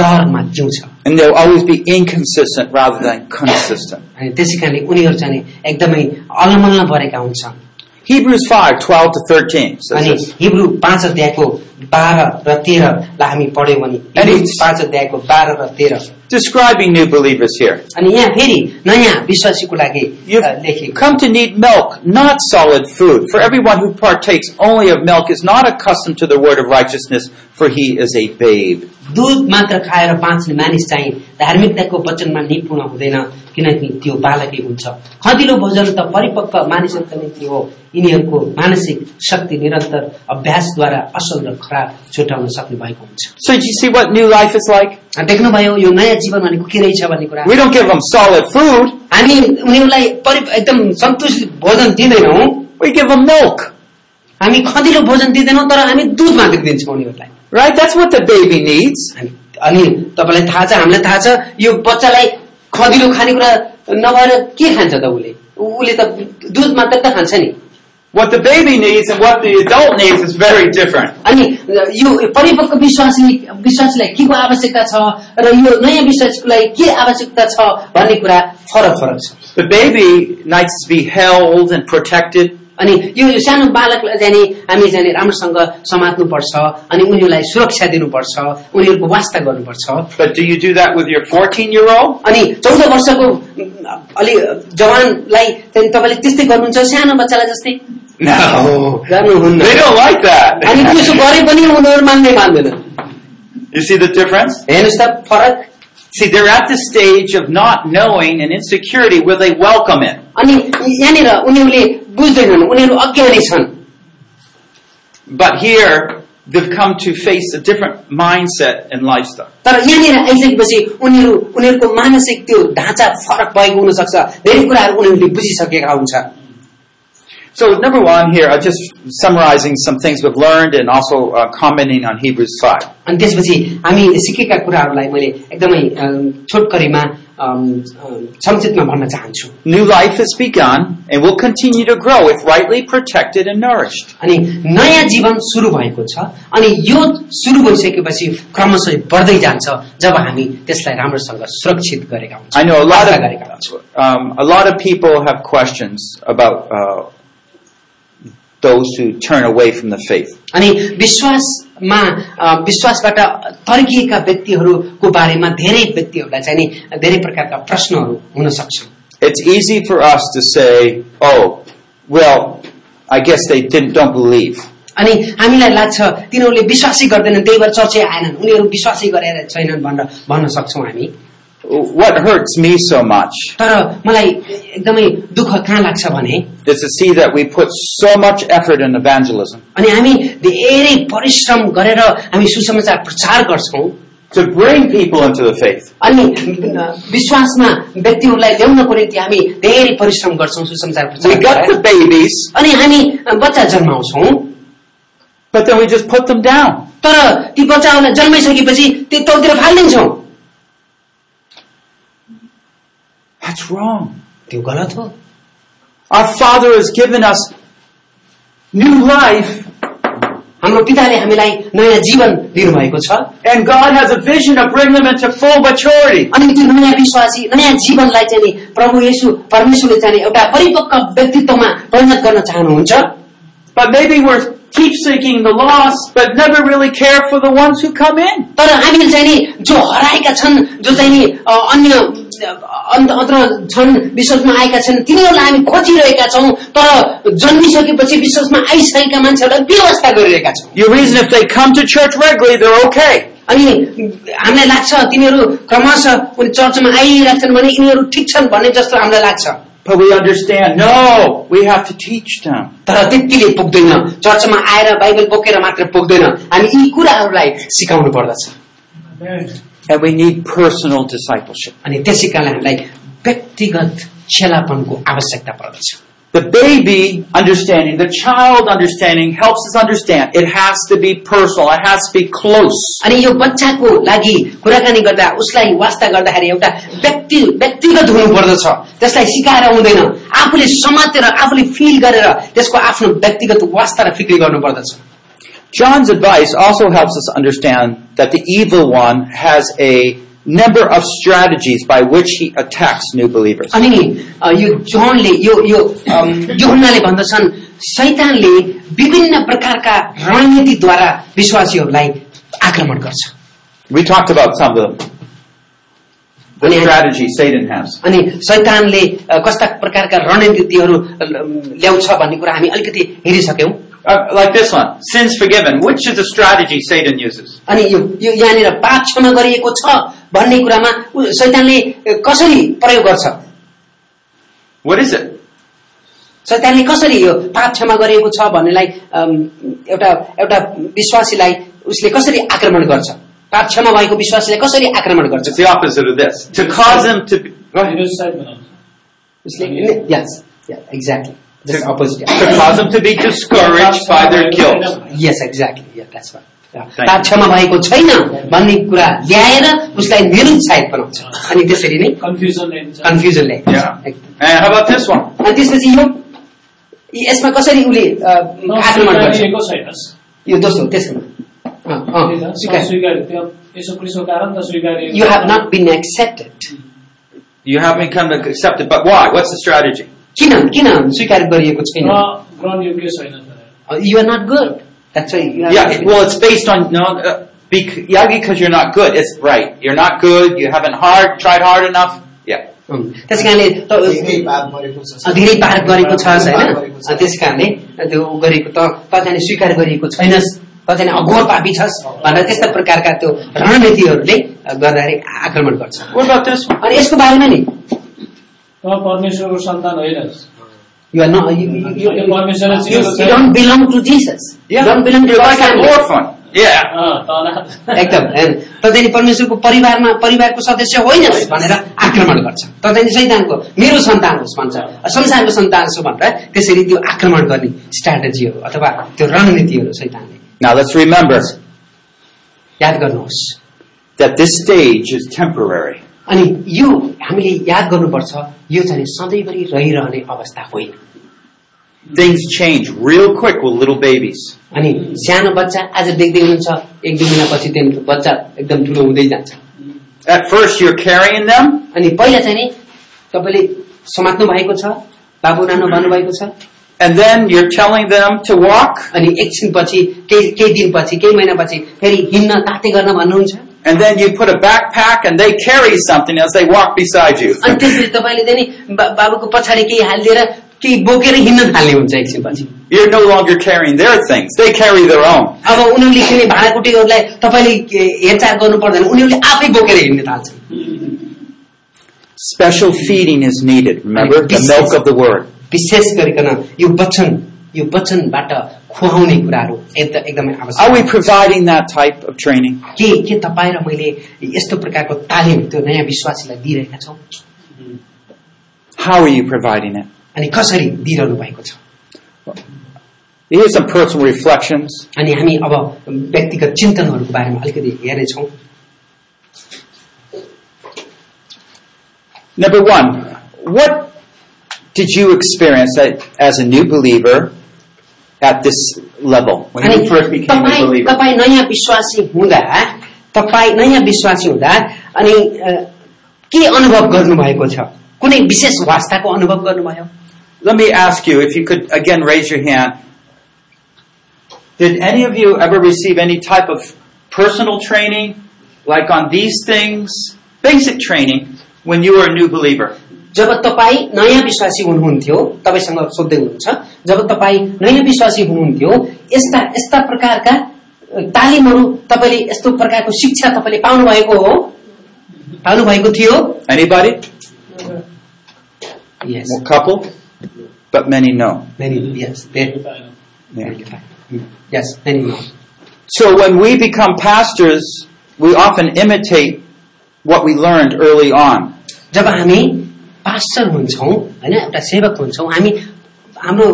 Speaker 4: डरमा जिउँछ
Speaker 1: And they'll always be inconsistent rather than consistent.
Speaker 4: अनि त्यसै कारणले उनीहरू चाहिँ एकदमै अलमल्ल परेका हुन्छन्
Speaker 1: Hebrews 5, 12 to 13 says
Speaker 4: अनि
Speaker 1: this.
Speaker 4: हिब्रू पाँच अध्यायको बाह्र र तेह्रलाई हामी पढ्यौँ भने हिब्रू
Speaker 1: it's-
Speaker 4: पाँच अध्यायको बाह्र र तेह्र
Speaker 1: Describing new believers here.
Speaker 4: अनि यहाँ फेरि नयाँ विश्वासीको लागि
Speaker 1: You've
Speaker 4: अ, लेखिएको
Speaker 1: come to need milk, not solid food. For everyone who partakes only of milk is not accustomed to the word of righteousness, for he is a babe.
Speaker 4: दुध मात्र खाएर बाँच्ने मानिस चाहिँ धार्मिकताको वचनमा निपुण हुँदैन किनकि त्यो बालकै हुन्छ खदिलो भोजन त परिपक्व मानिसहरूको निम्ति हो यिनीहरूको मानसिक शक्ति निरन्तर अभ्यासद्वारा असल र खराब छुटाउन सक्ने भएको हुन्छ
Speaker 1: So do you see what new life is like?
Speaker 4: देख्नुभयो यो नयाँ जीवन भनेको के रहेछ भन्ने कुरा
Speaker 1: We don't give them solid food,
Speaker 4: हामी उनीहरूलाई परि एकदम सन्तुष्ट भोजन दिँदैनौँ
Speaker 1: we give them milk.
Speaker 4: हामी खदिलो भोजन दिँदैनौँ तर हामी दुध मात्र दिन्छौँ उनीहरूलाई
Speaker 1: Right? That's what the baby needs.
Speaker 4: अनि- अनि तपाईँलाई थाहा छ हामीलाई थाहा छ यो बच्चालाई खदिलो खानेकुरा नभएर के खान्छ त उसले उ- उसले त दुध मात्र त खान्छ नि
Speaker 1: What the baby needs and what the adult needs is very different.
Speaker 4: अनि यो परिपक्व विश्वासी विश्वासलाई के को आवश्यकता छ र यो नयाँ विश्वासको लागि के आवश्यकता छ भन्ने कुरा फरक फरक छ
Speaker 1: The baby needs to be held and protected.
Speaker 4: अनि यो यो सानो बालकलाई जाने हामी जाने राम्रोसँग समात्नुपर्छ अनि उनीहरूलाई सुरक्षा दिनुपर्छ उनीहरूको वास्ता गर्नुपर्छ
Speaker 1: But do you do that with your 14 year old?
Speaker 4: अनि चौध वर्षको अलि जवानलाई त्यहाँदेखि तपाईँले त्यस्तै गर्नुहुन्छ सानो बच्चालाई जस्तै
Speaker 1: No.
Speaker 4: गर्नुहुन्न
Speaker 1: They don't like
Speaker 4: अनि त्यसो
Speaker 1: that.
Speaker 4: गरे पनि उनीहरू मान्दै मान्दैनन्
Speaker 1: <laughs> you see the difference?
Speaker 4: हेर्नुहोस् त फरक
Speaker 1: See, they're at the stage of not knowing and insecurity where they welcome it.
Speaker 4: अनि यहाँनिर उनीहरूले बुझ्दैनन् उनीहरू अज्ञानी छन्
Speaker 1: But here, they've come to face a different mindset and lifestyle.
Speaker 4: तर यहाँनिर आइसकेपछि उनीहरू उनीहरूको मानसिक त्यो ढाँचा फरक भएको हुनसक्छ धेरै कुराहरू उनीहरूले बुझिसकेका हुन्छ
Speaker 1: So, number one here, I'm just summarizing some things we've learned and also uh, commenting on Hebrews 5.
Speaker 4: अनि त्यसपछि हामी सिकेका कुराहरूलाई मैले एकदमै अम, छोटकरीमा अम, अम, संक्षिप्तमा भन्न चाहन्छु
Speaker 1: New life has begun and will continue to grow if rightly protected and nourished.
Speaker 4: अनि नयाँ जीवन सुरु भएको छ अनि यो सुरु भइसकेपछि क्रमशः बढ्दै जान्छ जब हामी त्यसलाई राम्रोसँग सुरक्षित गरेका हुन्छौँ
Speaker 1: I know a lot
Speaker 4: आशा गरेका हुन्छौँ
Speaker 1: of um, a lot of people have questions about uh, those who turn away from the faith.
Speaker 4: अनि विश्वासमा अ, विश्वासबाट तर्किएका व्यक्तिहरूको बारेमा धेरै व्यक्तिहरूलाई चाहिँ नि धेरै प्रकारका प्रश्नहरू हुन सक्छन्
Speaker 1: It's easy for us to say, "Oh, well, I guess they didn't don't believe."
Speaker 4: अनि हामीलाई लाग्छ तिनीहरूले विश्वासै गर्दैनन् त्यही भएर चर्चै आएनन् उनीहरू विश्वासै गरेर छैनन् भनेर भन्न सक्छौँ हामी
Speaker 1: What hurts me so much
Speaker 4: तर मलाई एकदमै दुःख कहाँ लाग्छ भने
Speaker 1: is to see that we put so much effort in evangelism
Speaker 4: अनि हामी धेरै परिश्रम गरेर हामी सुसमाचार प्रचार गर्छौँ
Speaker 1: to bring people into the faith.
Speaker 4: अनि विश्वासमा व्यक्तिहरूलाई ल्याउनको निम्ति हामी धेरै परिश्रम गर्छौँ सुसमाचार प्रचार
Speaker 1: We got
Speaker 4: गरेर।
Speaker 1: the babies,
Speaker 4: अनि हामी बच्चा जन्माउँछौँ
Speaker 1: but then we just put them down.
Speaker 4: तर ती बच्चाहरूलाई जन्माइसकेपछि त्यो तौतिर फालिदिन्छौँ
Speaker 1: That's wrong.
Speaker 4: त्यो गलत हो
Speaker 1: Our Father has given us new life,
Speaker 4: हाम्रो पिताले हामीलाई नयाँ जीवन दिनुभएको छ
Speaker 1: and God has a vision to bring them into full maturity.
Speaker 4: अनि त्यो नयाँ विश्वासी नयाँ जीवनलाई चाहिँ नि प्रभु येशु परमेश्वरले चाहिँ नि एउटा परिपक्व व्यक्तित्वमा परिणत गर्न चाहनुहुन्छ
Speaker 1: But maybe we're keep seeking the lost, but never really care for the ones who come in.
Speaker 4: तर हामीले चाहिँ नि जो हराएका छन् जो चाहिँ नि अ, अन्य अ, अन्त अत्र छन् विश्वासमा आएका छन् तिनीहरूलाई हामी खोजिरहेका छौँ तर जन्मिसकेपछि विश्वासमा आइसकेका मान्छेहरूलाई व्यवस्था गरिरहेका छौँ
Speaker 1: Your reason if they come to church regularly, they're okay.
Speaker 4: अनि हामीलाई लाग्छ तिनीहरू क्रमशः उनी चर्चमा आइरहेछन् भने यिनीहरू ठिक छन् भन्ने जस्तो हामीलाई लाग्छ
Speaker 1: But we understand, no, we have to teach them.
Speaker 4: तर त्यतिले पुग्दैन चर्चमा आएर बाइबल बोकेर मात्र पुग्दैन हामी यी कुराहरूलाई सिकाउनु पर्दछ
Speaker 1: And we need personal discipleship.
Speaker 4: अनि त्यसै कारणले हामीलाई व्यक्तिगत चेलापनको आवश्यकता पर्दछ
Speaker 1: The baby understanding, the child understanding helps us understand. It has to be personal. It has to be close.
Speaker 4: अनि यो बच्चाको लागि कुराकानी गर्दा उसलाई वास्ता गर्दाखेरि एउटा व्यक्ति व्यक्तिगत हुनुपर्दछ त्यसलाई सिकाएर हुँदैन आफूले समातेर आफूले फिल गरेर त्यसको आफ्नो व्यक्तिगत वास्ता र फिक्री गर्नुपर्दछ
Speaker 1: John's advice also helps us understand that the evil one has a number of strategies by which he attacks new believers.
Speaker 4: अनि अ, यो जोहनले यो यो अम, योहन्नाले भन्दछन् शैतानले विभिन्न प्रकारका रणनीतिद्वारा विश्वासीहरूलाई आक्रमण गर्छ
Speaker 1: We talked about some of them. The
Speaker 4: अनि हामी-
Speaker 1: strategy Satan has.
Speaker 4: अनि शैतानले अ, कस्ता प्रकारका रणनीतिहरू अ, ल्याउँछ भन्ने कुरा हामी अलिकति हेरिसक्यौँ
Speaker 1: Uh, like this one, sins forgiven, which is a strategy Satan uses.
Speaker 4: अनि यो यो यहाँनिर पाप क्षमा गरिएको छ भन्ने कुरामा उ- शैतानले अ, कसरी प्रयोग गर्छ
Speaker 1: What is it?
Speaker 4: शैतानले कसरी यो पाप क्षमा गरिएको छ भन्नेलाई अम, एउटा एउटा विश्वासीलाई उसले कसरी आक्रमण गर्छ पाप क्षमा भएको विश्वासीलाई कसरी आक्रमण गर्छ
Speaker 1: It's the opposite of this. To cause him to be, go ahead.
Speaker 4: उसले yes exactly just opposite
Speaker 1: to cause him to be discouraged by their guilt.
Speaker 5: <laughs>
Speaker 4: Yes exactly
Speaker 1: you.
Speaker 4: पाप क्षमा भएको छैन भन्ने कुरा ल्याएर उसलाई निरुत्साहित बनाउँछ अनि त्यसरी नै
Speaker 5: कन्फ्युजन ल्याइन्छ
Speaker 4: कन्फ्युजन ल्याए
Speaker 1: Yeah. And how about this one?
Speaker 4: अनि त्यसपछि यो यसमा कसरी उसले अ, आक्रमण गर्छ
Speaker 5: स्वीकारिएको छैन
Speaker 4: यो दोस्रो त्यसमा अँ, अँ, स्वीकार।
Speaker 5: स्वीकार त्यो यसो पुलिसको कारण त स्वीकारिएको
Speaker 4: you have not been accepted.
Speaker 1: You haven't come to accept it, but why? What's the strategy?
Speaker 4: किन किन स्वीकार गरिएको छैन
Speaker 5: र ग्रहण योग्य छैन भनेर
Speaker 2: You are not good. That's why you are
Speaker 1: Yeah,
Speaker 2: not
Speaker 1: it- well, it's based on no. Uh, bec- yeah, because you're not good. It's right. You're not good. You haven't hard tried hard enough. Yeah.
Speaker 2: हुन्। त्यस कारणले
Speaker 4: धेरै
Speaker 2: त-
Speaker 4: पाप गरेको छ
Speaker 2: धेरै पार गरेको छ होइन
Speaker 4: पार गरेको छ।
Speaker 2: त्यस कारणले त्यो ऊ गरेको त तँ चाहिँ स्वीकार गरिएको छैनस् तँ चाहिँ अघोर पापी छस् भनेर त्यस्ता प्रकारका त्यो रणनीतिहरूले गर्दाखेरि आक्रमण गर्छ
Speaker 1: What about this one?
Speaker 2: अनि यसको बारेमा नि
Speaker 5: तँ परमेश्वरको सन्तान होइनस्
Speaker 2: यो न
Speaker 5: तैँले परमेश्वरलाई चिनेको छैन
Speaker 2: don't belong to Jesus
Speaker 1: Yeah.
Speaker 2: Don't belong to
Speaker 1: You're like an orphan. Yeah.
Speaker 5: अँ, तँलाई
Speaker 2: एकदम होइन तँ चाहिँ परमेश्वरको परिवारमा परिवारको सदस्य होइनस् भनेर आक्रमण गर्छ तँ चाहिँ सैतानको मेरो सन्तान होस् भन्छ संसारको सन्तान छु भनेर त्यसरी त्यो आक्रमण गर्ने स्ट्राटेजीहरू अथवा त्यो रणनीतिहरू सैतानले
Speaker 1: Now let's remember
Speaker 2: याद गर्नुहोस्
Speaker 1: that this stage is temporary.
Speaker 2: अनि यो हामीले याद गर्नुपर्छ यो चाहिँ सधैँभरि रहिरहने अवस्था होइन
Speaker 1: Things change real quick with little babies.
Speaker 2: अनि सानो बच्चा आज देख्दै हुनुहुन्छ एक दुई महिनापछि त्यो बच्चा एकदम ठुलो हुँदै जान्छ
Speaker 1: At first, you're carrying them,
Speaker 2: अनि पहिला चाहिँ नि तपाईँले समात्नु भएको छ बाबु नानो भन्नुभएको छ
Speaker 1: and then you're telling them to walk,
Speaker 2: अनि एकछिनपछि केही केही दिनपछि केही महिनापछि फेरि हिँड्न ताते गर्न भन्नुहुन्छ
Speaker 1: and then you put a backpack, and they carry something as they walk beside you.
Speaker 2: अनि त्यसरी तपाईँले चाहिँ नि बा- बाबुको पछाडि केही हालिदिएर केही बोकेर हिँड्न थाल्ने हुन्छ एकछिनपछि
Speaker 1: You're no longer carrying their things; they carry their own.
Speaker 2: अब उनीहरूले किने भाँडाकुटीहरूलाई तपाईँले के- हेरचाह गर्नु पर्दैन उनीहरूले आफै बोकेर हिँड्न थाल्छन्
Speaker 1: Special feeding is needed. Remember
Speaker 2: Like
Speaker 1: the milk of the word.
Speaker 2: विशेष गरिकन यो वचन यो वचनबाट खुवाउने कुराहरू एकदम एकदमै आवश्यक
Speaker 1: Are we providing that type of training?
Speaker 2: के के तपाईँ र मैले यस्तो प्रकारको तालिम त्यो नयाँ विश्वासीलाई दिइरहेका छौँ
Speaker 1: How are you providing it?
Speaker 2: अनि कसरी दिइरहनु भएको छ
Speaker 1: Here's some personal reflections.
Speaker 2: अनि हामी अब व्यक्तिगत चिन्तनहरूको बारेमा अलिकति हेर्नेछौँ
Speaker 1: Number one, what did you experience that, as a new believer at this level when
Speaker 2: अनि
Speaker 1: you first became a
Speaker 2: तपाईँ
Speaker 1: believer?
Speaker 2: तपाईँ नयाँ विश्वासी हुँदा तपाईँ नयाँ विश्वासी हुँदा अनि अ, के अनुभव गर्नुभएको छ कुनै विशेष वास्ताको अनुभव गर्नुभयो
Speaker 1: Let me ask you, if you could again raise your hand. Did any of you ever receive any type of personal training, like on these things, basic training, when you were a new believer?
Speaker 2: जब तपाईँ नयाँ विश्वासी हुनुहुन्थ्यो तपाईँसँग सोध्दै हुनुहुन्छ जब तपाईँ नयाँ विश्वासी हुनुहुन्थ्यो यस्ता यस्ता प्रकारका अ, तालिमहरू तपाईँले यस्तो प्रकारको शिक्षा तपाईँले पाउनु भएको हो पाउनु भएको थियो
Speaker 1: Anybody?
Speaker 2: Yes.
Speaker 1: A couple, but many no.
Speaker 2: Many, yes, very,
Speaker 1: Yeah.
Speaker 2: very fine. Yes, many more.
Speaker 1: So when we become pastors, we often imitate what we learned early on.
Speaker 2: जब हामी पास्टर हुन्छौँ होइन एउटा सेवक हुन्छौँ हामी हाम्रो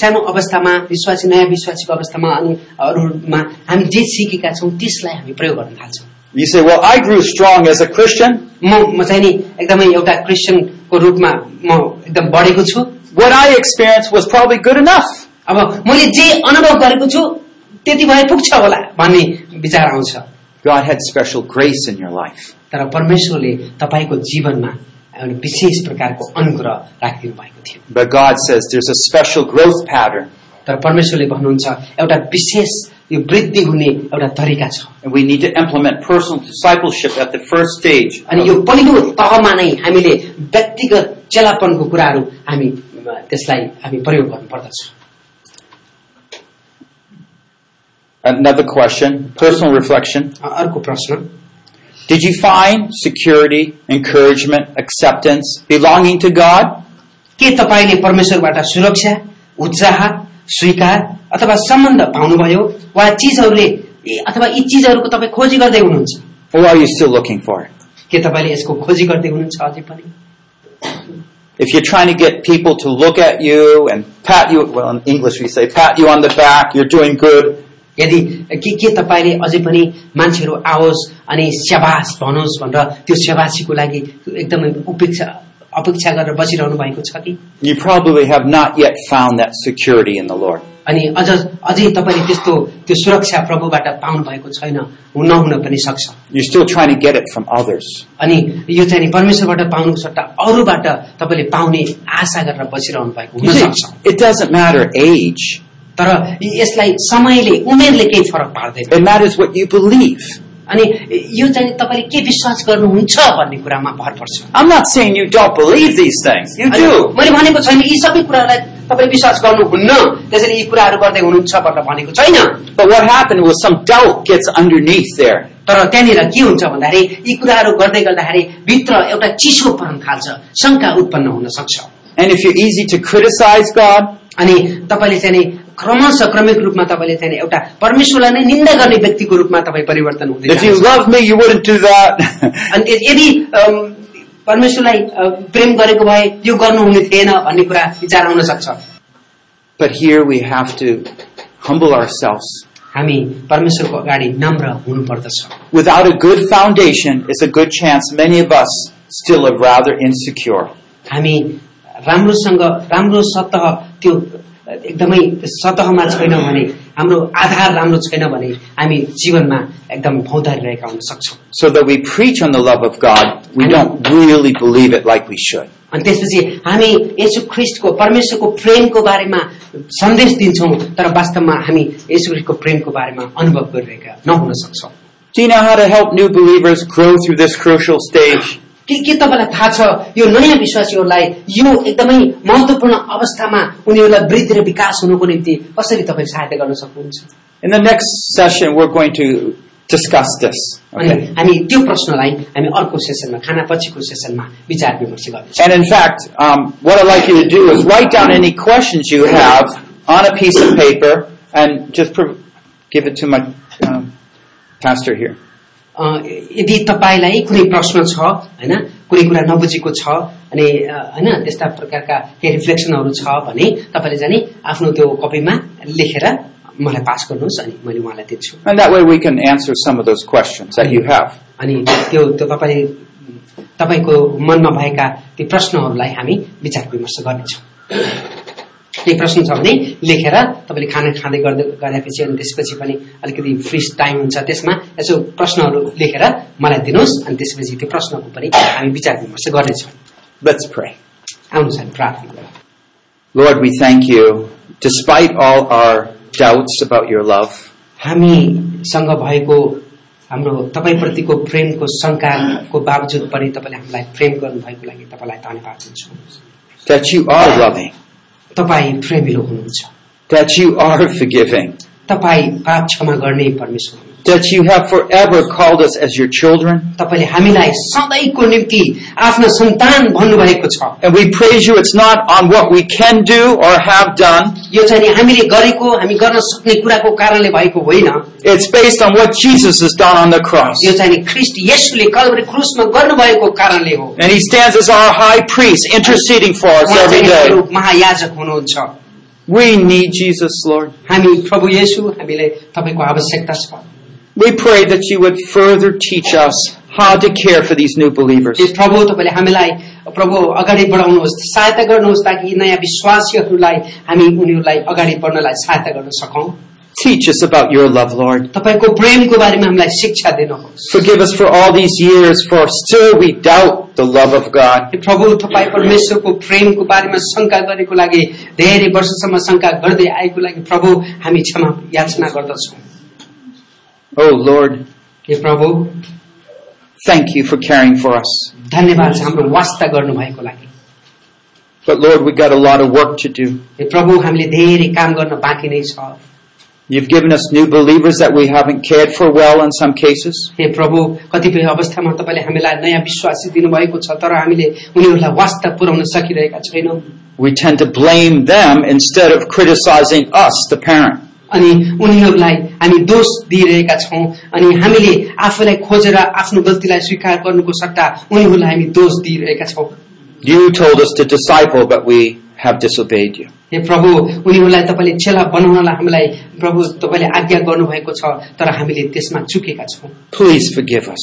Speaker 2: सानो अवस्थामा विश्वासी नयाँ विश्वासीको अवस्थामा अनि अरूमा हामी जे सिकेका छौँ त्यसलाई हामी प्रयोग गर्न थाल्छौँ
Speaker 1: You say, well, I grew strong as a Christian.
Speaker 2: म म चाहिँ नि एकदमै एउटा क्रिस्चियनको रूपमा म एकदम बढेको छु
Speaker 1: What I experienced was probably good enough.
Speaker 2: अब मैले जे अनुभव गरेको छु त्यति भए पुग्छ होला भन्ने विचार आउँछ
Speaker 1: God had special grace in your life.
Speaker 2: तर परमेश्वरले तपाईँको जीवनमा एउटा विशेष प्रकारको अनुग्रह राखिदिनु भएको थियो
Speaker 1: But God says there's a special growth pattern
Speaker 2: तर परमेश्वरले भन्नुहुन्छ एउटा विशेष यो वृद्धि हुने एउटा तरिका छ
Speaker 1: and we need to implement personal discipleship at the first stage.
Speaker 2: अनि यो पहिलो तहमा नै हामीले व्यक्तिगत चेलापनको कुराहरू हामी अ, त्यसलाई हामी प्रयोग गर्नुपर्दछ
Speaker 1: Another question, personal reflection.
Speaker 2: अ, अर्को प्रश्न
Speaker 1: Did you find security, encouragement, acceptance, belonging to God?
Speaker 2: के तपाईँले परमेश्वरबाट सुरक्षा उत्साह स्वीकार अथवा सम्बन्ध पाउनुभयो वा चिजहरूले यी- अथवा यी चिजहरूको तपाईँ खोजी गर्दै हुनुहुन्छ
Speaker 1: Or are you still looking for it?
Speaker 2: के तपाईँले यसको खोजी गर्दै हुनुहुन्छ अझै पनि
Speaker 1: If you're trying to get people to look at you and pat you, well, in English we say pat you on the back, you're doing good.
Speaker 2: यदि के के तपाईँले अझै पनि मान्छेहरू आओस् अनि स्याबास भनोस् भनेर त्यो स्याबासीको लागि एकदमै उपेक्षा अपेक्षा गरेर बसिरहनु भएको छ कि
Speaker 1: You probably have not yet found that security in the Lord.
Speaker 2: अनि अझ अझै तपाईँले त्यस्तो त्यो सुरक्षा प्रभुबाट पाउनु भएको छैन हुन नहुन पनि सक्छ
Speaker 1: You're still trying to get it from others.
Speaker 2: अनि यो चाहिँ नि परमेश्वरबाट पाउनुको सट्टा अरूबाट तपाईँले पाउने आशा गरेर बसिरहनु भएको
Speaker 1: You
Speaker 2: हुन
Speaker 1: see,
Speaker 2: सक्छ
Speaker 1: it doesn't matter age.
Speaker 2: तर यसलाई समयले उमेरले केही फरक पार्दैन
Speaker 1: It matters what you believe.
Speaker 2: अनि यो चाहिँ नि तपाईँले के विश्वास गर्नुहुन्छ भन्ने कुरामा भर पर्छ
Speaker 1: I'm not saying you don't believe these things. You
Speaker 2: अनि
Speaker 1: do.
Speaker 2: मैले भनेको छैन यी सबै कुरालाई तपाईँले विश्वास गर्नुहुन्न त्यसरी यी कुराहरू गर्दै हुनुहुन्छ भनेर भनेको छैन
Speaker 1: But what happened was some doubt gets underneath there.
Speaker 2: तर त्यहाँनिर के हुन्छ भन्दाखेरि यी कुराहरू गर्दै गर्दाखेरि भित्र एउटा चिसोपन थाल्छ शङ्का उत्पन्न हुन सक्छ
Speaker 1: And if you're easy to criticize God,
Speaker 2: अनि तपाईँले चाहिँ नि क्रमशः क्रमिक रूपमा तपाईँले चाहिँ नि एउटा परमेश्वरलाई नै निन्दा गर्ने व्यक्तिको रूपमा तपाईँ परिवर्तन हुँदै
Speaker 1: if you
Speaker 2: जानुहुन्छ।
Speaker 1: love me, you wouldn't do that. <laughs>
Speaker 2: अनि त्यस- यदि अम, परमेश्वरलाई अ, प्रेम गरेको भए यो गर्नुहुने थिएन भन्ने कुरा विचार आउन सक्छ
Speaker 1: but here we have to humble ourselves.
Speaker 2: हामी परमेश्वरको अगाडि नम्र हुनुपर्दछ
Speaker 1: Without a good foundation, it's a good chance many of us still are rather insecure.
Speaker 2: हामी राम्रोसँग राम्रो सतह त्यो एकदमै सतहमा छैन भने हाम्रो आधार राम्रो छैन भने हामी जीवनमा एकदम भौतारिरहेका हुन सक्छौँ
Speaker 1: So that we preach on the love of God, we don't really believe it like we should.
Speaker 2: अनि त्यसपछि हामी येशु ख्रिस्टको परमेश्वरको प्रेमको बारेमा सन्देश दिन्छौँ तर वास्तवमा हामी येशु ख्रिस्टको प्रेमको बारेमा अनुभव गरिरहेका नहुन सक्छौँ
Speaker 1: Do you know how to help new believers grow through this crucial stage?
Speaker 2: के के तपाईँलाई थाहा छ यो नयाँ विश्वासीहरूलाई यो एकदमै महत्वपूर्ण अवस्थामा उनीहरूलाई वृद्धि र विकास हुनुको निम्ति कसरी तपाईँ सहायता गर्न सक्नुहुन्छ
Speaker 1: In the next session, we're going to discuss this.
Speaker 2: अनि
Speaker 1: Okay.
Speaker 2: हामी त्यो प्रश्नलाई हामी अर्को सेसनमा खाना पछिको सेसनमा विचार विमर्श गर्नेछौँ
Speaker 1: And in fact, um, what I'd like you to do is write down any questions you have on a piece of paper and just pro- give it to my um, pastor here.
Speaker 2: अ, यदि तपाईँलाई कुनै प्रश्न छ होइन कुनै कुरा नबुझेको छ अनि अ, होइन त्यस्ता प्रकारका केही रिफ्लेक्सनहरू छ भने तपाईँले जाने आफ्नो त्यो कपीमा लेखेर मलाई पास गर्नुहोस् अनि मैले उहाँलाई दिन्छु
Speaker 1: And that way we can answer some of those questions that you have.
Speaker 2: अनि त्यो त्यो तपाईँ तपाईँको मनमा भएका ती प्रश्नहरूलाई हामी विचार विमर्श गर्नेछौँ केही प्रश्न छ भने लेखेर तपाईँले खाना खाँदै गर्दै गरेपछि अनि त्यसपछि पनि अलिकति फ्री टाइम हुन्छ त्यसमा यसो प्रश्नहरू लेखेर मलाई दिनुहोस् अनि त्यसपछि त्यो प्रश्नको पनि हामी विचार विमर्श गर्नेछौँ
Speaker 1: Let's pray.
Speaker 2: आउनुहोस् हामी प्रार्थना गरौँ
Speaker 1: Lord, we thank you. Despite all our doubts about your love,
Speaker 2: हामीसँग भएको हाम्रो तपाईँप्रतिको प्रेमको शङ्काको बावजुद पनि तपाईँले हामीलाई प्रेम गर्नुभएको लागि तपाईँलाई धन्यवाद दिन्छौँ
Speaker 1: that you are loving,
Speaker 2: तपाईँ प्रेमिलो हुनुहुन्छ
Speaker 1: that you are forgiving,
Speaker 2: तपाईँ पाप क्षमा गर्ने परमेश्वर हुनुहुन्छ
Speaker 1: that you have forever called us as your children.
Speaker 2: तपाईँले हामीलाई सधैँको निम्ति आफ्नो सन्तान भन्नुभएको छ
Speaker 1: And we praise you. It's not on what we can do or have done.
Speaker 2: यो चाहिँ नि हामीले गरेको हामी गर्न सक्ने कुराको कारणले भएको होइन
Speaker 1: It's based on what Jesus has done on the cross.
Speaker 2: यो चाहिँ नि ख्रिस्ट यसुले कलवरी क्रुसमा गर्नुभएको कारणले हो
Speaker 1: And he stands as our high priest, interceding for us
Speaker 2: उहाँ
Speaker 1: every
Speaker 2: चाहिँ हाम्रो
Speaker 1: day.
Speaker 2: महायाजक हुनुहुन्छ
Speaker 1: We need Jesus, Lord.
Speaker 2: हामी प्रभु येशु हामीलाई तपाईँको आवश्यकता छ
Speaker 1: We pray that you would further teach us how to care for these new believers.
Speaker 2: हे प्रभु तपाईँले हामीलाई प्रभु अगाडि बढाउनुहोस् सहायता गर्नुहोस् ताकि यी नयाँ विश्वासीहरूलाई हामी उनीहरूलाई अगाडि बढ्नलाई सहायता गर्न सकौँ
Speaker 1: Teach us about your love, Lord.
Speaker 2: तपाईँको प्रेमको बारेमा हामीलाई शिक्षा दिनुहोस्
Speaker 1: Forgive us for all these years, for still we doubt the love of God.
Speaker 2: हे प्रभु तपाईँ परमेश्वरको प्रेमको बारेमा शङ्का गरेको लागि धेरै वर्षसम्म शङ्का गर्दै आएको लागि प्रभु हामी क्षमा याचना गर्दछौँ
Speaker 1: Oh, Lord,
Speaker 2: hey Prabhu
Speaker 1: thank you for caring for us.
Speaker 2: धन्यवाद छ हाम्रो वास्ता गर्नुभएको लागि
Speaker 1: But, Lord, we got a lot of work to do.
Speaker 2: हे प्रभु हामीले धेरै काम गर्न बाँकी नै छ
Speaker 1: You've given us new believers that we haven't cared for well in some cases.
Speaker 2: हे प्रभु कतिपय अवस्थामा तपाईँले हामीलाई नयाँ विश्वासी दिनुभएको छ तर हामीले उनीहरूलाई वास्ता पुर्याउन सकिरहेका छैनौँ
Speaker 1: We tend to blame them instead of criticizing us, the parent.
Speaker 2: अनि उनीहरूलाई हामी दोष दिइरहेका छौँ अनि हामीले आफूलाई खोजेर आफ्नो गल्तीलाई स्वीकार गर्नुको सट्टा उनीहरूलाई हामी दोष दिइरहेका छौँ
Speaker 1: You told us to disciple, but we have disobeyed you.
Speaker 2: हे प्रभु उनीहरूलाई तपाईँले चेला बनाउनलाई हामीलाई प्रभु तपाईँले आज्ञा गर्नुभएको छ तर हामीले त्यसमा चुकेका छौँ
Speaker 1: Please forgive us.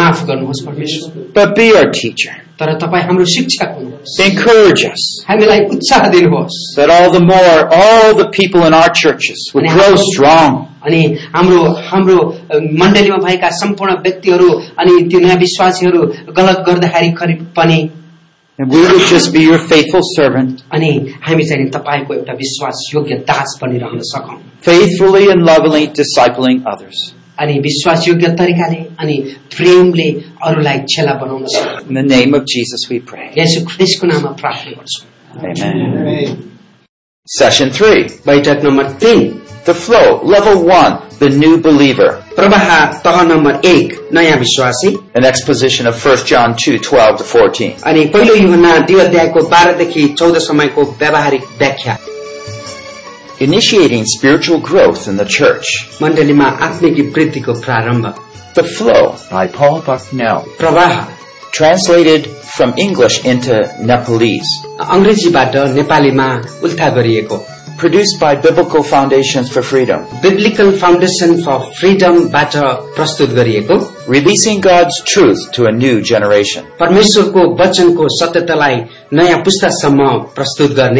Speaker 2: माफ गर्नुहोस् परमेश्वर
Speaker 1: but be our teacher.
Speaker 2: तर तपाईँ हाम्रो शिक्षक हुनुहोस्
Speaker 1: Encourage us
Speaker 2: हामीलाई उत्साह दिनुहोस्
Speaker 1: that all the more all the people in our churches would grow strong,
Speaker 2: अनि हाम्रो हाम्रो अ, मण्डलीमा भएका सम्पूर्ण व्यक्तिहरू अनि त्यो नयाँ विश्वासीहरू गलत गर्दाखेरि खरि पनि
Speaker 1: and we would just be your faithful servant,
Speaker 2: अनि हामी चाहिँ नि तपाईँको एउटा विश्वास योग्य दास बनिरहन सकौँ
Speaker 1: faithfully and lovingly discipling others.
Speaker 2: अनि विश्वास योग्य तरिकाले अनि प्रेमले अरूलाई छेला बनाउन सकौँ
Speaker 1: In the name of Jesus we pray.
Speaker 2: यसो ख्रिस्टको नाममा प्रार्थना गर्छौँ
Speaker 1: Amen. Session 3.
Speaker 2: बैठक नम्बर तीन
Speaker 1: The flow, level 1, the new believer.
Speaker 2: प्रवाह तह नम्बर एक नयाँ विश्वासी
Speaker 1: An exposition of 1 John 2, 12 to 14.
Speaker 2: अनि पहिलो युहना दुई अध्यायको बाह्रदेखि चौध समयको व्यावहारिक व्याख्या
Speaker 1: Initiating spiritual growth in the church.
Speaker 2: मण्डलीमा आत्मिक वृद्धिको प्रारम्भ
Speaker 1: The flow by Paul Bucknell.
Speaker 2: प्रवाह
Speaker 1: Translated from English into Nepalese.
Speaker 2: अङ्ग्रेजीबाट नेपालीमा उल्था गरिएको
Speaker 1: Produced by Biblical Foundations for Freedom.
Speaker 2: Biblical Foundation for फ्रिडमबाट प्रस्तुत गरिएको
Speaker 1: Releasing God's truth to a new generation.
Speaker 2: परमेश्वरको वचनको सत्यतालाई नयाँ पुस्तासम्म प्रस्तुत गर्ने